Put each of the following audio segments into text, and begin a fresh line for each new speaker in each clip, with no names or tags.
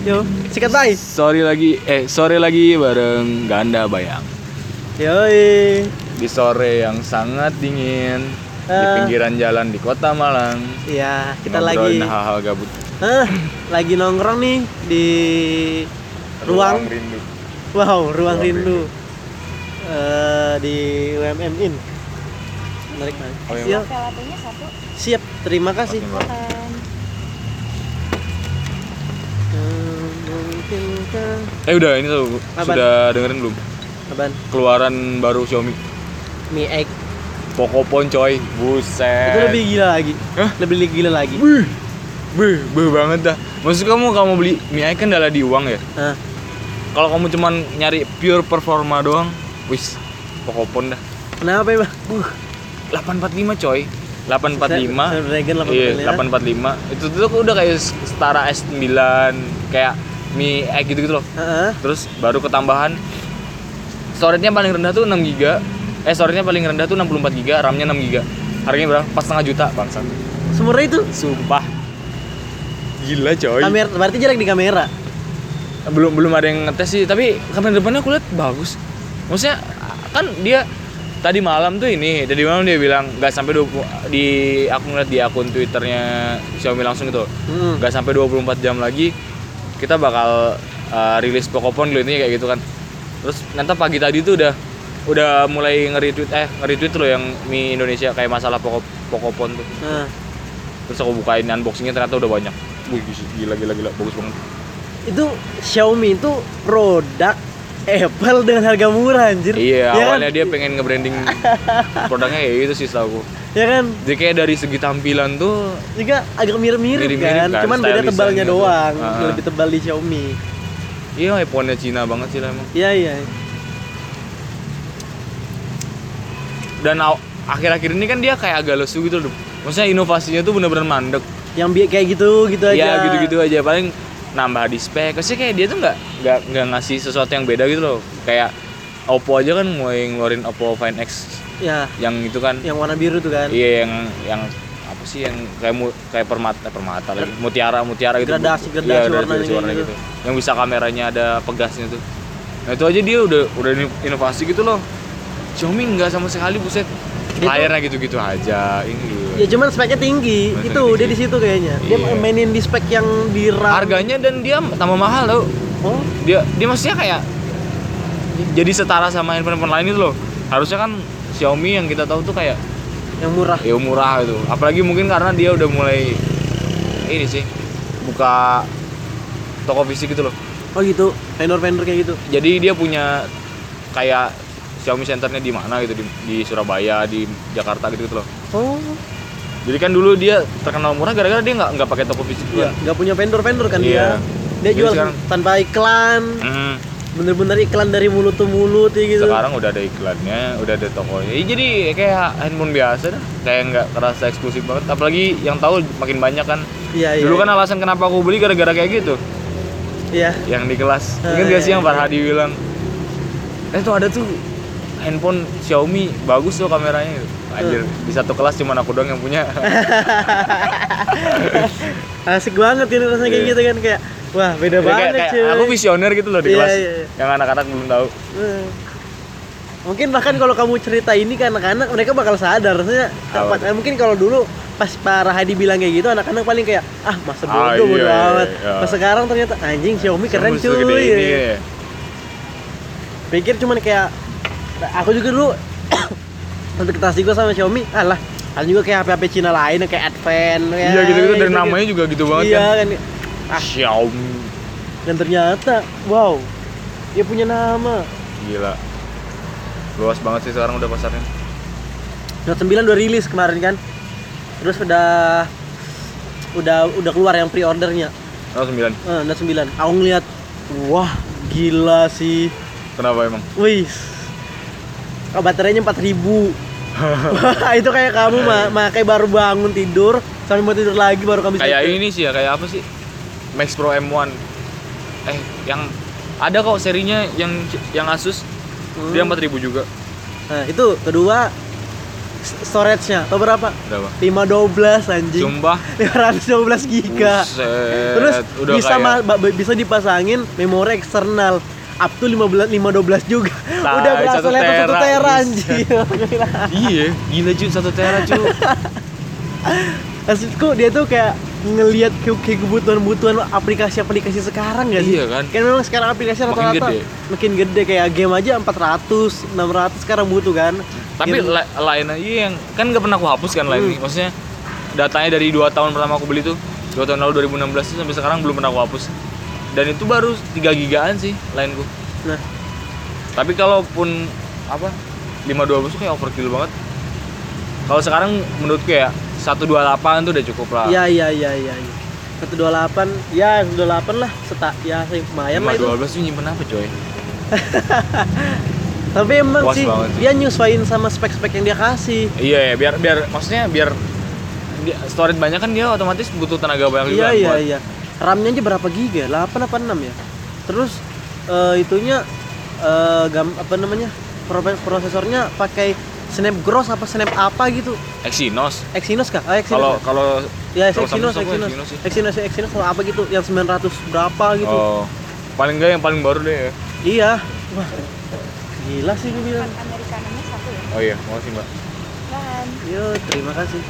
Yo, sikat tay.
Sorry lagi, eh sore lagi bareng Ganda Bayang.
Yoi.
Di sore yang sangat dingin di
Eh.
pinggiran jalan di Kota Malang.
Iya, kita
ngobrolin
lagi
hal-hal gabut.
eh lagi nongkrong nih di ruang,
rindu.
wow, ruang,
Ruang
rindu. Eh, di UMM In. Menarik banget.
Oh, iya,
Yo,
Mak.
Velatonya satu
siap. Terima kasih.
Oke, Mak.
bukan
Eh, Mungkinkah
Eh udah ini tuh
Apaan?
sudah dengerin belum?
Apaan?
Keluaran baru Xiaomi
Mi egg.
Eh. Pokopon coy. Buset.
Itu lebih gila lagi.
Hah?
Lebih gila lagi.
Beuh. Beuh, beuh banget dah. Maksud kamu kamu beli mie icon adalah di uang ya?
Hah?
Kalau kamu cuman nyari pure performa doang, wis Pokopon dah.
Kenapa, Bang? Uh,
845 coy. 845.
Snapdragon
Iya, 845. Itu tuh udah kayak setara S9, kayak Mi X gitu-gitu loh.
Heeh.
Terus baru ketambahan storage-nya paling rendah tuh 6 GB. Eh, storage-nya paling rendah tuh 64 GB, RAM-nya 6 GB. Harganya berapa? Pas setengah juta, bangsat.
Semurah itu.
Sumpah. Gila, coy.
Kamera berarti jelek di kamera.
Belum belum ada yang ngetes sih, tapi kamera depannya aku lihat bagus. Maksudnya kan dia tadi malam tuh ini tadi malam dia bilang nggak sampai 20 di aku ngeliat di akun twitternya Xiaomi langsung gitu
Heeh.
nggak sampai 24 jam lagi kita bakal uh, rilis Pokopon gitu intinya kayak gitu kan terus nanti pagi tadi tuh udah udah mulai nge-retweet eh nge-retweet loh yang Mi Indonesia kayak masalah Pokop Pokopon tuh
Nah,
terus aku bukain unboxingnya ternyata udah banyak Wih, gila gila gila bagus banget
itu Xiaomi itu produk Apple dengan harga murah anjir.
iya
ya
awalnya
kan?
dia pengen nge-branding produknya kayak gitu sih setahu aku
Ya kan?
jadi kayak dari segi tampilan tuh
Juga agak mirip-mirip
Mirip-mirip
kan?
kan,
cuman
style
beda tebalnya
desainnya tuh.
doang,
Ah.
lebih tebal di Xiaomi.
iya iPhone-nya Cina banget sih lah emang
Iya iya.
dan aw- akhir-akhir ini kan dia kayak agak lesu gitu loh maksudnya inovasinya tuh bener-bener mandek
Yang bi kayak gitu gitu aja.
Iya gitu-gitu aja paling nambah di spek. Maksudnya kayak dia tuh nggak nggak nggak ngasih sesuatu yang beda gitu loh. Kayak Oppo aja kan mulai ngeluarin Oppo Find X
Ya,
yang itu kan.
yang warna biru tuh kan.
Iya yang yang apa sih yang kayak mu- kayak permata eh, permata lagi mutiara mutiara gitu
Gradasi- gradasi
Iya,
warnanya kayak
warna
gitu.
gitu. yang bisa kameranya ada pegasnya tuh nah itu aja dia udah udah ini- inovasi gitu loh Xiaomi nggak sama sekali buset
Dia tuh-
layarnya gitu-gitu aja ini loh.
Ya cuman speknya tinggi,
Speknya
itu dia
tinggi.
di situ kayaknya. Dia
Iya.
mainin di spek yang di RAM.
harganya dan dia tambah mahal tau
Oh,
dia dia maksudnya kayak jadi setara sama handphone-handphone lain itu loh harusnya kan Xiaomi yang kita tahu tuh kayak
yang murah.
ya murah gitu apalagi mungkin karena dia udah mulai ini sih buka toko fisik gitu loh
Oh gitu, vendor-vendor kayak gitu.
jadi dia punya kayak Xiaomi centernya di mana gitu di, di Surabaya di Jakarta gitu, loh
Oh,
jadi kan dulu dia terkenal murah gara-gara dia nggak nggak pakai toko fisik
ya,
juga
nggak punya vendor-vendor kan
Iya.
dia. Dia
Jadi
jual
sekarang-
tanpa iklan.
Hmm.
bener-bener iklan dari mulut ke mulut ya gitu
sekarang udah ada iklannya udah ada tokonya Ya, jadi kayak handphone biasa dah kayak nggak kerasa eksklusif banget apalagi yang tahu makin banyak kan
iya iya
dulu kan alasan kenapa aku beli gara-gara kayak gitu
iya
yang di kelas
Ah,
ingat gak
iya,
sih yang
iya.
Farhadi bilang eh tuh ada tuh handphone Xiaomi bagus tuh kameranya
Ah.
anjir di satu kelas cuma aku doang yang punya
asik banget kan rasanya kayak
Iya.
gitu kan kayak wah beda
Jadi
banget
kayak, kayak
cuy
aku visioner gitu loh di
Iya,
kelas
iya, iya.
yang anak-anak belum tahu
Eh. mungkin bahkan kalau kamu cerita ini ke anak-anak mereka bakal sadar rasanya
Apa
tepat- Eh, mungkin kalau dulu pas Pak Rahadi bilang kayak gitu anak-anak paling kayak ah masa bodoh
Ah,
bodo
iya,
amat
iya.
pas sekarang ternyata anjing Xiaomi keren
Terus segede
cuy
ini, ya.
pikir cuman kayak aku juga dulu ekspektasi gue sama Xiaomi alah kan juga kayak HP-HP Cina lain kayak Advent ya,
iya gitu-gitu dari namanya juga gitu banget
iya
kan
kan Ah.
Xiaomi
dan ternyata wow dia punya nama
gila luas banget sih sekarang udah pasarnya
Note 9 udah rilis kemarin kan terus udah udah udah keluar yang pre-ordernya
oh 9
Eh, Note 9 aku ngeliat wah gila sih
kenapa emang
Wih. Oh, baterainya 4000. Wah, itu kayak kamu ma makai baru bangun tidur sampai mau tidur lagi baru kamu bisa
kayak
tidur.
ini sih ya kayak apa sih Max Pro M1 eh yang ada kok serinya yang yang Asus
Hmm.
dia 4000 juga
Nah, itu kedua storage-nya atau berapa?
Berapa?
512 anjing.
Sumpah.
512 giga.
Buset,
Terus
Eh, udah
bisa ma-
kayak-
ba- bisa dipasangin memori eksternal up to 15 512 juga.
Tai,
udah berasa
Nah, satu
laptop satu
tera,
tera
buset.
anjing.
iya, gila cuy satu tera cuy.
Maksudku dia tuh kayak ngelihat ke, ke kebutuhan-kebutuhan aplikasi-aplikasi sekarang gak sih?
Iya kan?
Kan memang sekarang aplikasi
Makin
rata-rata
gede.
makin gede kayak game aja 400, 600 sekarang butuh kan.
Tapi
Game-
la- lain aja yang kan nggak pernah aku hapus kan
Hmm.
lain ini. Maksudnya datanya dari dua tahun pertama aku beli tuh, dua tahun lalu 2016 tuh sampai sekarang belum pernah aku hapus. Dan itu baru 3 gigaan sih lainku.
nah,
Tapi kalaupun apa 512 tuh kayak overkill banget. Kalau sekarang menurutku ya 128 tuh udah cukup lah.
Iya iya iya iya. iya. 128, ya 128 lah, seta, ya lumayan lah itu.
512 tuh nyimpen apa coy?
Tapi emang
Puas
sih
banget sih.
dia nyesuaiin sama spek-spek yang dia kasih.
Iya ya, biar biar maksudnya biar dia, storage banyak kan dia otomatis butuh tenaga banyak
Iya
juga
iya
buat-
iya. RAM-nya aja berapa giga? 8 apa 6 ya? Terus eh, itunya eh gam, apa namanya? Prope- Prosesornya pakai Snapgross apa Snap apa gitu?
Exynos.
Exynos kah? Ah, Exynos.
Kalau kalau
ya, ya
kalau
Exynos,
Samsung aku
Exynos.
sih.
Exynos, Exynos atau apa gitu yang 900 berapa gitu.
Oh. Paling enggak yang paling baru deh ya.
Iya. Wah. Gila sih gue bilang.
Amerikananya satu ya?
Oh iya, makasih Mbak.
Bahan.
Yo, Iya, terima kasih.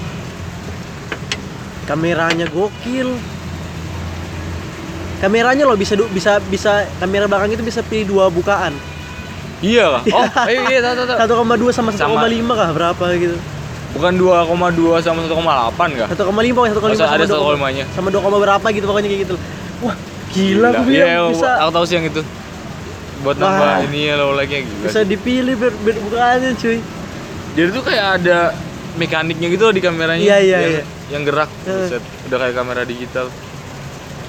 Kameranya gokil. Kameranya lo bisa du- bisa bisa kamera belakang itu bisa pilih dua bukaan.
Iya lah. Oh, iya iya tahu tahu, tahu.
1,2 sama 1,5 kah berapa gitu.
Bukan 2,2 sama 1,8 enggak?
1,5 pokoknya 1,5
Ah. Masa ada
2,5.
1,5-nya?
Sama 2, berapa gitu pokoknya kayak gitu. Wah, gila, gue bilang
Iya,
bisa
aku tahu sih yang itu. Buat
Wah.
nambah ini ya low lag-nya gila.
bisa
sih.
dipilih ber, ber- bukaannya cuy.
Dia tuh kayak ada mekaniknya gitu loh di kameranya.
Iya, iya,
yang,
iya.
yang gerak.
Eh.
Buset, udah kayak kamera digital.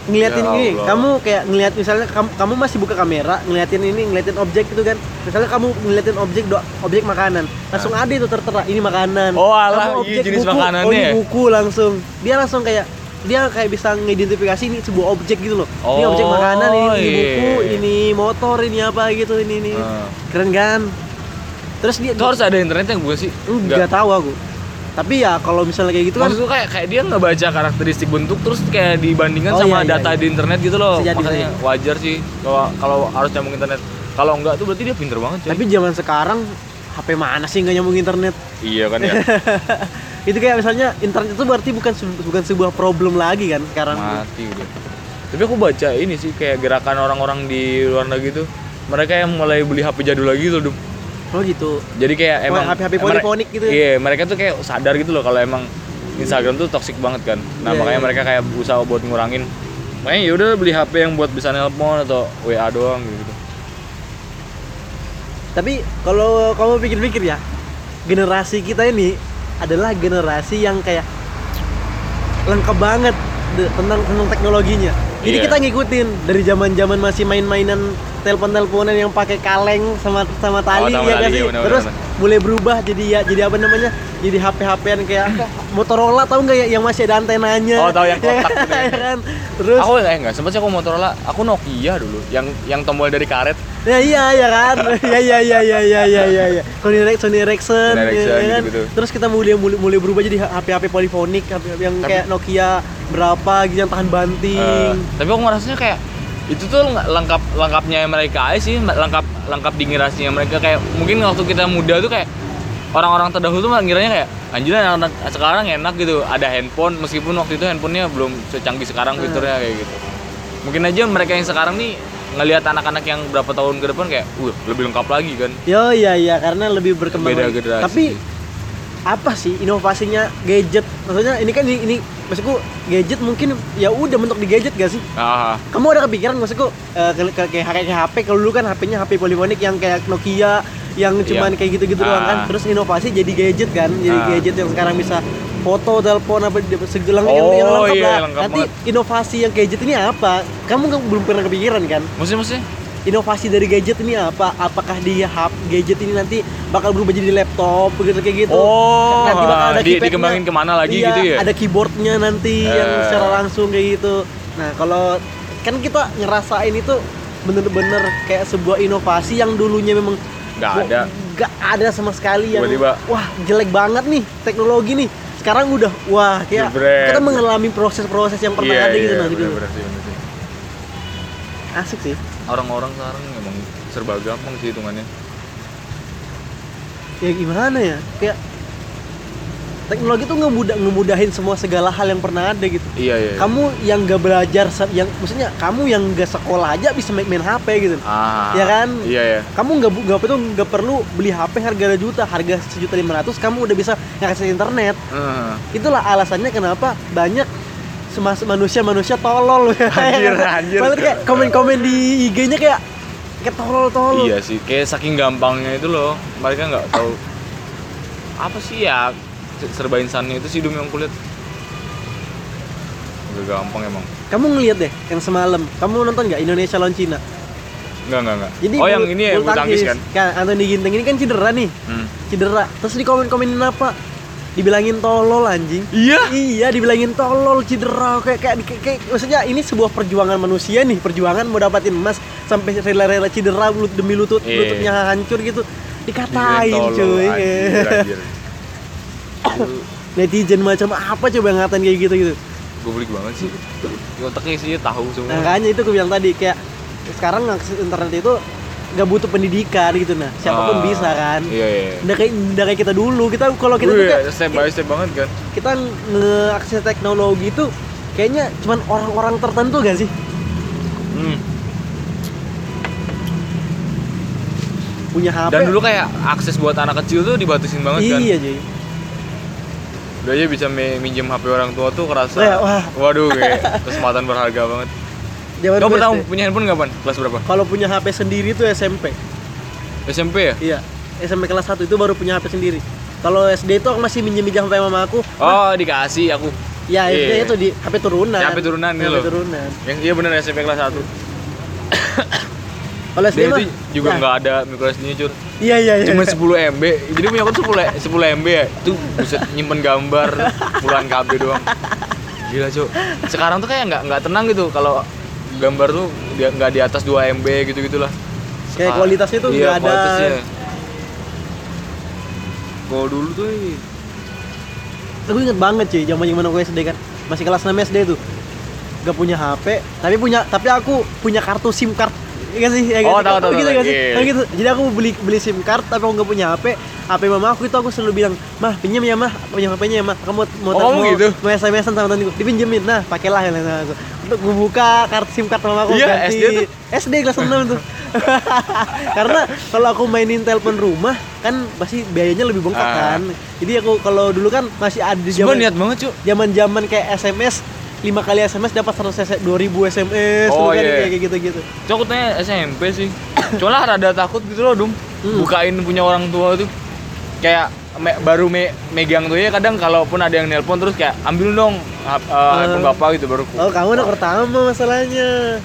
ngeliatin
Ya
ini
Allah.
kamu kayak ngeliat misalnya kamu, kamu masih buka kamera ngeliatin ini ngeliatin objek gitu kan misalnya kamu ngeliatin objek do, objek makanan langsung ada itu tertera ini makanan
Oh, alah,
Kamu
iya, jenis
buku,
makanannya
oh, ini
ya?
buku langsung dia langsung kayak dia kayak bisa ngidentifikasi ini sebuah objek gitu loh ini objek
Oh,
makanan ini, ini
iya.
buku ini motor ini apa gitu ini ini
Ah.
keren kan terus dia Hmm,
Itu harus ada internetnya bukan sih?
nggak tahu aku tapi ya kalau misalnya kayak gitu kan
Maksud tuh ya, kayak kayak dia ngebaca karakteristik bentuk terus kayak dibandingkan
Oh,
sama
iya, iya,
data
iya.
di internet gitu loh.
Bisa jadi,
Makanya
bisa jadi.
wajar sih kalau kalau harus nyambung internet. Kalau enggak tuh berarti dia pinter banget coy.
tapi zaman sekarang HP mana sih nggak nyambung internet
iya kan ya.
itu kayak misalnya internet itu berarti bukan se- bukan sebuah problem lagi kan sekarang
Mati udah. Tapi aku baca ini sih kayak gerakan orang-orang di luar negeri tuh mereka yang mulai beli HP jadul lagi tuh Dum.
oh gitu
Jadi kayak
Oh,
emang
HP-HP
emang-
polifonik gitu ya?
Iya, mereka tuh kayak sadar gitu loh kalau emang Instagram tuh toxic banget kan. Nah,
Iya,
makanya
iya.
mereka kayak berusaha buat ngurangin. Makanya yaudah beli HP yang buat bisa nelpon atau WA doang gitu.
tapi kalau kamu pikir-pikir ya generasi kita ini adalah generasi yang kayak lengkap banget de- tentang tentang teknologinya jadi
Iya.
kita ngikutin dari zaman-zaman masih main-mainan telepon-teleponan yang pakai kaleng sama sama tali
sama
ya kan
tali,
sih
iya, benar-benar.
terus mulai berubah jadi ya jadi apa namanya jadi HP-HPan kayak Motorola tahu nggak ya yang masih ada antenanya
Oh, tahu yang
Ya
kotak gitu ya.
kan? terus
aku eh nggak sempat sih aku Motorola, aku Nokia dulu, yang yang tombol dari karet.
Ya iya ya kan. Ya ya ya ya ya ya ya ya. Sony Ericsson, Sony Ericsson,
Sony Ericsson,
ya kan?
gitu-gitu.
Terus kita mulai mulai, mulai berubah jadi HP-HP polifonik HP yang
Tapi-
kayak Nokia berapa gitu yang tahan banting.
Eh, tapi aku ngerasanya kayak itu tuh nggak lengkap lengkapnya mereka aja sih, mbak- lengkap lengkap di generasinya mereka kayak mungkin waktu kita muda tuh kayak orang-orang terdahulu tuh ngiranya kayak anjir lah, anak-anak sekarang enak gitu ada handphone meskipun waktu itu handphonenya belum secanggih sekarang
Hmm.
fiturnya kayak gitu mungkin aja mereka yang sekarang nih ngelihat anak-anak yang berapa tahun ke depan kayak uh lebih lengkap lagi kan
Yo iya iya karena lebih berkembang.
Beda
lagi.
generasi.
Tapi apa sih inovasinya gadget? Maksudnya ini kan ini, ini maksudku gadget mungkin ya udah bentuk di gadget gak sih?
ah
Kamu ada kepikiran maksudku eh, ke ke- kayak kayak HP kalau dulu kan HP-nya HP polifonik yang kayak Nokia yang cuman
Iya.
kayak gitu-gitu doang kan.
Ah.
Terus inovasi jadi gadget kan, jadi
Ah.
gadget yang sekarang bisa foto, telepon apa di- segala yang,
Oh,
yang lengkap
iya,
lah.
lengkap
Nanti inovasi yang gadget ini apa? Kamu nggak- belum pernah kepikiran kan?
maksudnya maksudnya
Inovasi dari gadget ini apa? Apakah di hap gadget ini nanti bakal berubah jadi laptop begitu kayak gitu?
Oh,
nanti bakal ada
di-
keypadnya.
dikembangin kemana lagi
Iya,
gitu ya?
Ada keyboardnya nanti yang
Eh.
secara langsung kayak gitu. Nah, kalau kan kita ngerasain itu bener-bener kayak sebuah inovasi yang dulunya memang
nggak
Gua-
ada
nggak ada sama sekali yang
Tiba-tiba.
wah jelek banget nih teknologi nih sekarang udah wah kayak
Jebret.
kita mengalami proses-proses yang pernah
Iya,
ada gitu
iya,
nah gitu
bener-bener sih, bener sih.
asik sih
orang-orang sekarang emang serba gampang sih hitungannya
ya gimana ya kayak teknologi tuh ngemudah ngemudahin semua segala hal yang pernah ada gitu
iya iya, iya.
kamu yang gak belajar se- yang maksudnya kamu yang gak sekolah aja bisa main, main HP gitu
ah
Ya kan?
iya ya
kamu nggak bu- nggak itu nggak perlu beli HP harga ada juta harga sejuta lima ratus kamu udah bisa ngakses internet itulah alasannya kenapa banyak semas manusia manusia tolol Ya kan?
Anjir, anjir.
Padahal kayak komen-komen di IG-nya kayak kayak tolol-tolol
Iya sih, kayak saking gampangnya itu loh, mereka nggak tahu apa sih ya serba insannya itu sih dum yang kulit. Udah gampang emang.
kamu ngeliat deh yang semalam kamu nonton nggak Indonesia lawan Cina
Enggak enggak enggak. oh yang ini ya bulu tangkis kan?
Anthony Ginting ini kan cedera nih
Hmm.
cedera terus di komen komenin apa dibilangin tolol anjing
Iya.
iya dibilangin tolol cedera kayak kayak, kayak- kayak- maksudnya ini sebuah perjuangan manusia nih perjuangan mau dapatin emas sampai rela-rela cedera lutut demi lutut
Iya.
lututnya hancur gitu dikatain
Dibilang tolol,
cuy
anjir, anjir. Itu
netizen macam apa coba yang ngatain kayak gitu gitu
Goblok banget sih. Otaknya sih tahu
nah
semua.
makanya itu gue bilang tadi kayak sekarang akses internet itu nggak butuh pendidikan gitu nah siapapun
Ah,
bisa kan
Iya iya.
nggak kayak nggak kayak kita dulu kita kalau kita tuh
Wih,
kayak-
step by step banget kan?
kita ngeakses teknologi itu kayaknya cuman orang-orang tertentu gak sih
Hmm.
punya HP
Dan dulu kayak akses buat anak kecil tuh dibatasin banget kan?
iya jadi
Udah aja bisa mi- minjem HP orang tua tuh kerasa.
Ya, wah.
Waduh, kayak kesempatan berharga banget.
zaman
Kau
gue
pertama
SD.
punya handphone kapan? Kelas berapa?
kalau punya HP sendiri tuh SMP
SMP ya?
iya SMP kelas 1 itu baru punya HP sendiri kalau SD itu aku masih minjem-minjem HP mama aku
Oh, dikasih aku.
ya
Iya.
SD itu di HP turunan
Ya, HP turunan ini
HP
loh.
turunan
Yang iya bener SMP kelas 1.
kalau SD
Dan
mah
itu juga
ya.
nggak ada micro SD-nya, Cur.
iya iya iya
Cuma 10 MB. Jadi punya aku tuh 10 10 MB ya. Itu bisa nyimpen gambar puluhan KB doang. Gila, Cuk. Sekarang tuh kayak nggak nggak tenang gitu kalau gambar tuh dia nggak di atas 2 MB gitu-gitulah. Iya,
Kayak kualitasnya tuh nggak ada.
Kalau dulu tuh eh,
aku inget banget cuy zaman zaman aku SD kan masih kelas 6 SD tuh gak punya HP tapi punya tapi aku punya kartu SIM card Iya gak sih? Iya gak
Oh,
sih?
tahu,
Kamu
tahu,
gitu
tahu.
gak sih?
Iya.
Kamu gitu. Jadi aku beli beli SIM card tapi aku gak punya HP. HP mama aku itu aku selalu bilang, "Mah, pinjam ya, Mah. Punya HP-nya ya, Mah. Kamu mau
Oh, kamu
mau,
gitu?
mau SMS-an sama tante gue. Dipinjemin. Nah, pakailah yang sama aku. Untuk gue buka kartu SIM card mama aku
Iya, SD tuh.
SD kelas 6 tuh. Karena kalau aku mainin telepon rumah kan pasti biayanya lebih bengkak
Ah.
kan. Jadi aku kalau dulu kan masih ada di
Cuma
zaman
niat banget, Cuk.
zaman-zaman kayak SMS lima kali SMS dapat 100 2000 SMS
Oh,
dulu kan
iya.
kayak gitu-gitu.
Cok, aku tanya SMP sih. Cuma lah rada takut gitu loh, Dum.
Hmm.
Bukain punya orang tua tuh. Kayak me- baru me- megang tuh ya kadang kalaupun ada yang nelpon terus kayak ambil dong hap- eh, handphone bapak gitu baru ku-
Oh, kamu anak pertama masalahnya.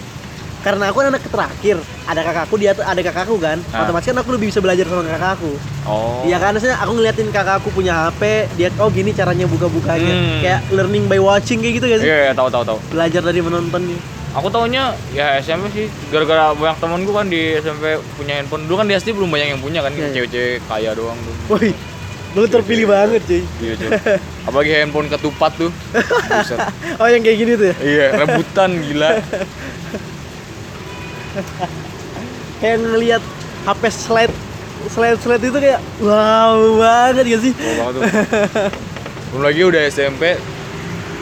Karena aku anak terakhir, ada kakakku dia ada kakakku kan.
Ah.
Otomatis kan aku lebih bisa belajar sama kakakku.
oh
Iya kan, maksudnya aku ngeliatin kakakku punya HP, dia oh gini caranya buka-bukanya.
Hmm.
Kayak learning by watching kayak gitu gak sih?
iya iya, tahu tahu tahu
Belajar dari menontonnya.
aku taunya ya SMP sih gara-gara banyak temanku kan di SMP punya handphone dulu kan di SD belum banyak yang punya kan
Iya, iya.
cewek-cewek kaya doang tuh
Woi, lu terpilih banget, cuy.
iya Cok. apalagi handphone ketupat tuh Buset.
Oh, yang kayak gini tuh ya?
iya rebutan gila
Kayak ngeliat HP slide slide slide itu kayak wow banget gak sih?
Wow banget tuh. Belum lagi udah SMP,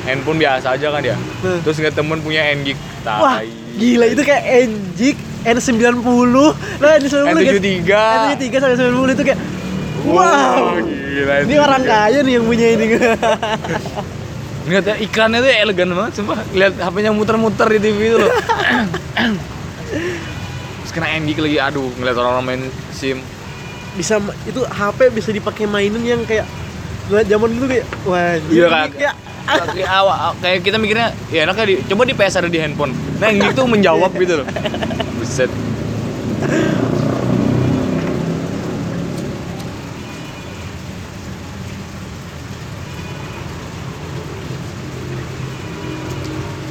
handphone biasa aja kan ya.
Hmm.
Terus nggak temen punya Ngik. Tai.
Wah, gila itu kayak Enjik N90. Nah, N90 guys. N73
N73.
sampai 90 itu kayak wow.
gila
Ini orang kaya nih yang punya ini.
Lihat ya, iklannya tuh elegan banget sumpah. Lihat HP-nya muter-muter di TV itu loh. Terus kena Ngik lagi aduh ngeliat orang-orang main SIM.
bisa ma- itu HP bisa dipakai mainin yang kayak lah, zaman dulu kayak wah
Iya,
ini
Kak.
kayak-
Kayak awa- kayak kita mikirnya ya enaknya di, coba di PS ada di handphone. Nah, Ngik tuh menjawab gitu loh. Buset.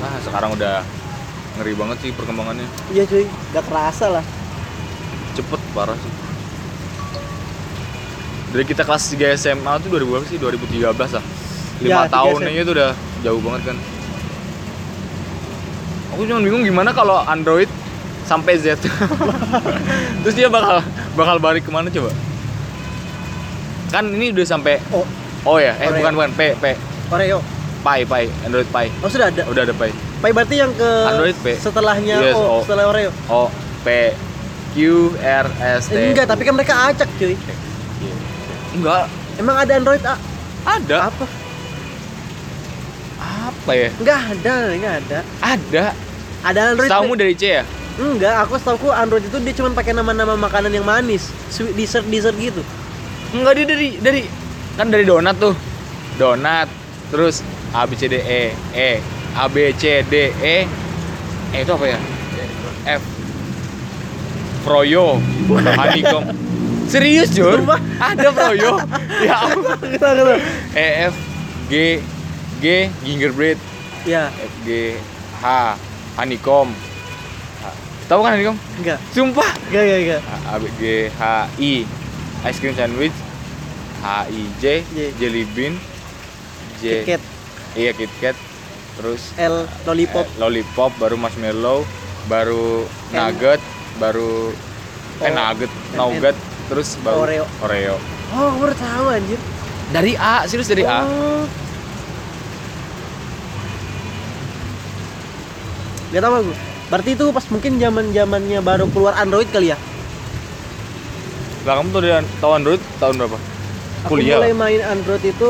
Nah, sekarang udah ngeri banget sih perkembangannya.
iya cuy gak kerasa lah
Cepet parah sih. dari kita kelas 3 SMA tuh 2000 berapa sih 2013 lah 5
Ya, 3
tahun
SMA.
aja tuh udah jauh banget kan aku cuma bingung gimana kalau Android sampai Z terus dia bakal bakal balik kemana coba kan ini udah sampai
Oh,
oh ya eh
Korea.
bukan bukan P P
Oreo.
Pi Pi Android Pi
Oh, sudah ada.
udah ada Pi
Pai berarti yang ke
Android, P.
setelahnya
Yes,
oh,
O.
setelah Oreo.
O P Q R S T
Eh, enggak, tapi kan mereka acak, cuy.
enggak
Emang ada Android A?
ada
Apa?
apa ya
Enggak ada, enggak ada.
ada
Ada Android.
Tahu
P.
dari C ya?
Enggak, aku setahuku Android itu dia cuma pakai nama-nama makanan yang manis, sweet dessert dessert gitu.
Enggak dia dari dari kan dari donat tuh. Donat. Terus A B C D E E A B C D E E itu apa ya? F Froyo Honeycomb Serius Jur?
Sumpah?
Ada Froyo Ya ampun
Gitu gitu.
E F G G Gingerbread
Ya,
F G H Honeycomb H- Tahu kan Honeycomb?
enggak.
Sumpah
Enggak, enggak, enggak.
A B G H I ice cream sandwich H I J
J.
jelly bean J
Tiket
iya Kit Kat terus
L lollipop.
eh, lollipop baru marshmallow baru
N.
nugget baru
O.
eh nugget
N.
nugget terus baru
Oh, Oreo.
Oreo
Oh, aku baru tahu anjir.
dari A serius dari Eh. A
Oh. Gak tahu aku. Berarti itu pas mungkin zaman-zamannya baru keluar Android kali ya.
lah kamu tuh dari tahun Android tahun berapa
Aku
kuliah
mulai main Android itu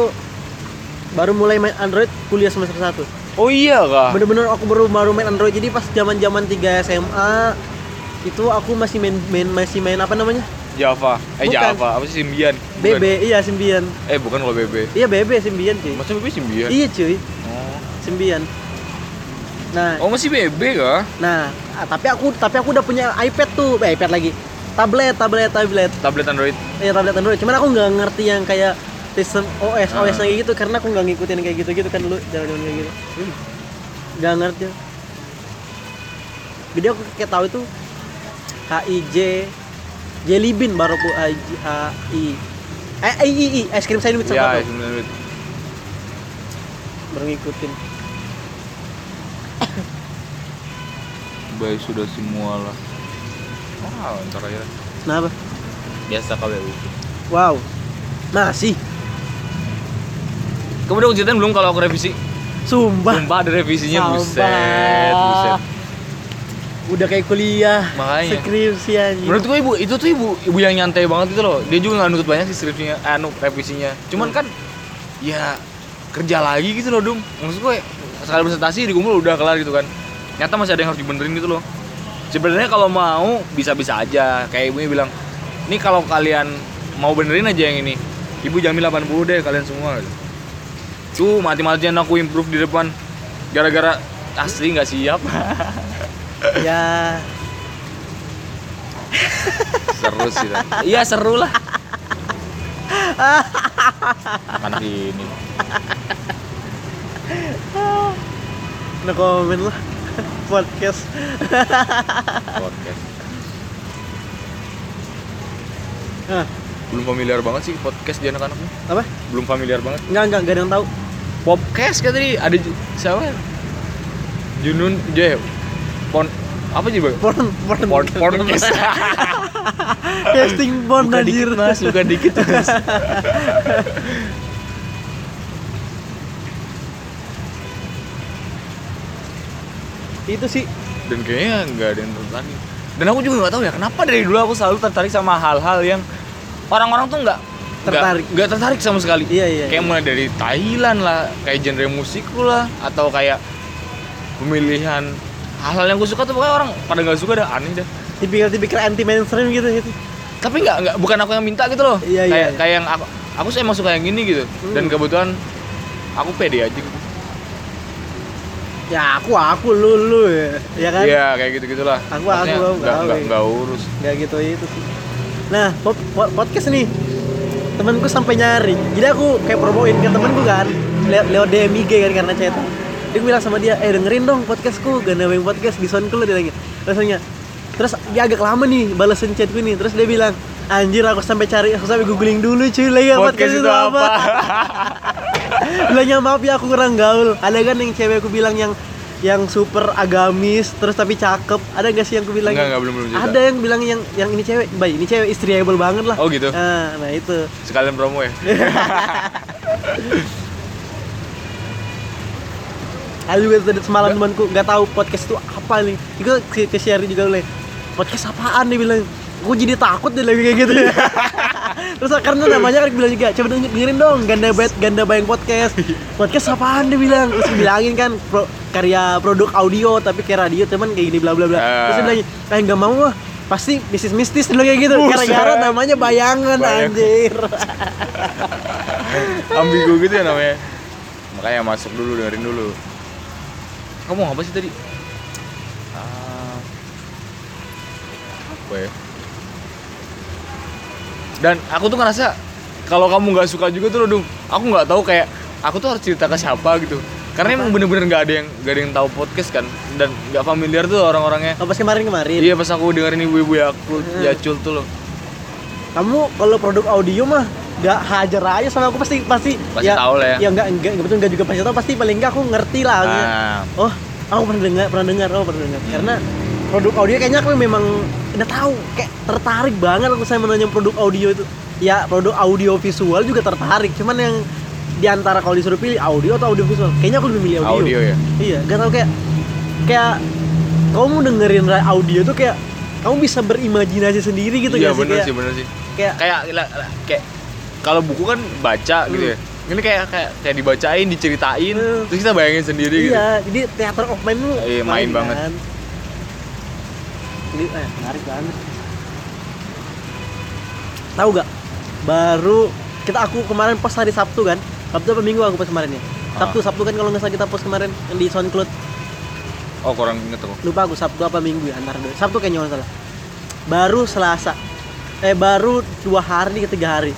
baru mulai main Android kuliah semester 1.
oh iya kah
Bener-bener aku baru baru main Android. Jadi pas zaman-zaman 3 SMA itu aku masih main, main masih main apa namanya?
Java eh
Bukan.
Java apa sih Symbian Bukan.
BB. Iya, Symbian.
eh bukan kalau BB
Iya, BB Symbian, cuy.
masa BB Symbian
Iya, cuy.
oh.
Symbian. Nah,
oh masih BB kah
Nah, ah, tapi aku tapi aku udah punya iPad tuh, eh, iPad lagi. Tablet, tablet, tablet.
tablet Android
Ya tablet Android. Cuman aku nggak ngerti yang kayak sistem OS,
Ah.
OS kayak gitu karena aku nggak ngikutin kayak gitu-gitu kan dulu jalan-jalan kayak gitu.
Hmm.
Nggak ngerti. Jadi aku kayak tahu itu HIJ Jelly Bean baru aku HIJ, HI eh, I, I, I, es krim sandwich sama
Ya,
aku
sebenarnya
baru ngikutin.
baik sudah semua lah. Wow, ntar aja.
Kenapa?
Biasa ya, KBU.
Wow. Masih.
Kamu udah ujian belum kalau aku revisi?
Sumpah.
Sumpah ada revisinya,
Sumpah.
buset, buset.
Udah kayak kuliah.
Makanya.
Skripsi anjing.
Menurut gue ibu itu tuh ibu ibu yang nyantai banget itu loh. Dia juga nggak nuntut banyak sih skripsinya, eh, anu revisinya. Cuman kan, ya kerja lagi gitu loh dum. Maksud gue sekali presentasi dikumpul udah kelar gitu kan. Nyata masih ada yang harus dibenerin gitu loh. Sebenarnya kalau mau bisa-bisa aja. Kayak ibunya bilang, ini kalau kalian mau benerin aja yang ini, ibu jamin 80 deh kalian semua. Tuh mati-matian aku improve di depan, gara-gara asli nggak siap.
ya
seru sih Tan. iya seru lah anak ini
no comment lah podcast
podcast
Hah,
belum familiar banget sih podcast di anak-anaknya
Ah, apa
belum familiar banget
nggak nggak nggak ada yang tahu
podcast kan tadi ada Ju- siapa ya? Junun Jaya pon apa sih bang
porn porn
pon podcast
casting porn
bukan
anjir
dikit mas bukan dikit mas
itu sih
dan kayaknya nggak ada yang tertarik dan aku juga nggak tahu ya kenapa dari dulu aku selalu tertarik sama hal-hal yang orang-orang tuh nggak nggak-
Tertarik.
nggak tertarik sama sekali
Iya, iya, iya.
kayak mulai dari Thailand lah kayak genre musik lah atau kayak pemilihan hal-hal yang gue suka tuh pokoknya orang pada nggak suka dah aneh dah
tipikal tipikal anti mainstream gitu gitu
tapi nggak nggak bukan aku yang minta gitu loh
Iya, iya,
kayak
iya.
kayak yang aku aku sih emang suka yang ini gitu dan
Hmm.
kebetulan aku pede aja gitu
ya aku aku lu lu ya, ya kan
iya kayak gitu gitulah
Aku- aku- aku-
nggak
aku-
nggak
aku.
nggak urus
nggak gitu itu sih nah po- po- podcast nih temanku sampai nyari jadi aku kayak promoin ke temanku kan le- lewat DM IG kan karena chat dia bilang sama dia eh dengerin dong podcastku gak nambahin podcast di soundku lo dia lagi terus nanya terus dia agak lama nih balesin chatku nih terus dia bilang Anjir aku sampai cari, aku sampai googling dulu cuy lagi
podcast itu apa?
Bilangnya maaf ya aku kurang gaul. Ada kan yang cewek aku bilang yang yang super agamis terus tapi cakep. Ada gak sih yang aku bilang?
Enggak, enggak, belum, belum juga.
Ada yang bilang yang yang ini cewek, mbak ini cewek istriable banget lah.
Oh, gitu?
Nah, nah itu.
Sekalian promo ya.
Aku juga tadi semalam temanku nggak tahu podcast itu apa nih. Itu ke, ke share juga oleh podcast apaan dia bilang. Gue jadi takut deh lebih kayak gitu. Terus karena namanya kan bilang juga, coba denger- dengerin dong ganda bed ganda bayang podcast. Podcast apaan dia bilang. Terus dia bilangin kan pro- karya produk audio tapi kayak radio teman kayak gini bla bla bla. Terus dia bilang, kayak nggak mau ah. Pasti bisnis mistis dulu kayak gitu.
Buset.
Gara-gara namanya bayangan
Bayang.
anjir.
Ambigu gitu ya namanya. Makanya masuk dulu dengerin dulu. Kamu mau apa sih tadi? Ah, apa ya? Dan aku tuh ngerasa kalau kamu nggak suka juga tuh Dung, aku nggak tahu kayak aku tuh harus cerita ke siapa gitu. Karena emang bener-bener nggak ada yang nggak ada yang tahu podcast kan dan nggak familiar tuh orang-orangnya.
Apa kemarin kemarin?
Iya pas aku dengerin ibu-ibu ya aku
Hmm.
yacul tuh loh.
kamu kalau produk audio mah gak hajar aja sama aku pasti pasti
Pasti tahu lah
ya
ya.
nggak nggak betul nggak juga pasti tahu pasti paling nggak aku ngerti lah maksudnya.
Ah.
oh aku pernah dengar pernah dengar oh pernah dengar karena produk audio kayaknya aku memang udah tahu kayak tertarik banget aku saya menanya produk audio itu ya produk audio visual juga tertarik cuman yang di antara kalau disuruh pilih audio atau audio visual kayaknya aku lebih milih audio,
Audio ya?
iya gak tau kayak kayak kamu dengerin ra- audio tuh kayak kamu bisa berimajinasi sendiri gitu
iya
nggak
bener
Kayak-
sih bener sih.
kayak
kayak la- la- kayak kalau buku kan baca gitu ya ini kayak kayak kayak dibacain diceritain
Hmm.
terus kita bayangin sendiri gitu
iya jadi teater of mind lu
Iya, main banget.
kan. Ini, eh, menarik banget tahu gak baru kita aku kemarin post hari Sabtu kan Sabtu apa Minggu aku post kemarin ya
Ah.
Sabtu Sabtu kan kalau nggak salah kita post kemarin yang di SoundCloud
oh kurang inget aku
lupa aku Sabtu apa Minggu ya antara dua Sabtu kayaknya kalau nggak salah baru Selasa eh baru dua hari ke tiga hari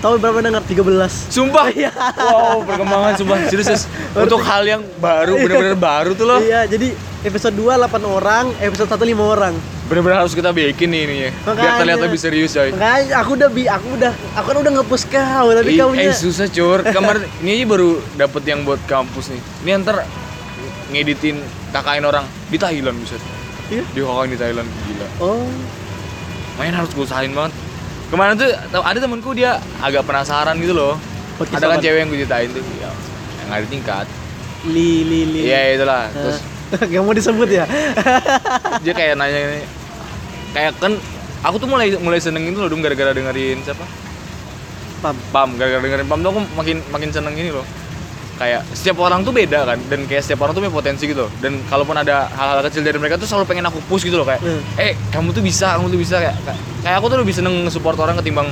tahu berapa yang dengar 13
sumpah
Iya.
wow perkembangan sumpah serius serius. untuk hal yang baru bener-bener baru tuh loh
iya jadi episode 2 8 orang episode 1 5 orang
bener-bener harus kita bikin nih ini ya biar
Makanya.
terlihat lebih serius coy
Makanya aku udah bi, aku udah, aku kan udah ngepush kau, tapi
Ih,
kau nya.
eh susah cur kemarin ini aja baru dapet yang buat kampus nih ini ntar ngeditin kakain orang di Thailand buset
Iya.
di kakain di Thailand gila
Oh,
main harus gue usahain banget kemarin tuh tau- ada temenku dia agak penasaran gitu loh
Podcast
ada kan
apa?
cewek yang gue ceritain tuh ya, yang ada tingkat
li li li. Ah,
iya itulah terus
gak mau disebut ya.
dia kayak nanya ini kayak kan aku tuh mulai mulai seneng itu loh dong gara-gara dengerin siapa
Pam.
pam gara-gara dengerin pam tuh aku makin makin seneng ini loh kayak setiap orang tuh beda kan dan kayak setiap orang tuh punya potensi gitu loh. dan kalaupun ada hal-hal kecil dari mereka tuh selalu pengen aku push gitu loh kayak
Hmm.
eh kamu tuh bisa kamu tuh bisa kayak kayak- kayak aku tuh lebih seneng support orang ketimbang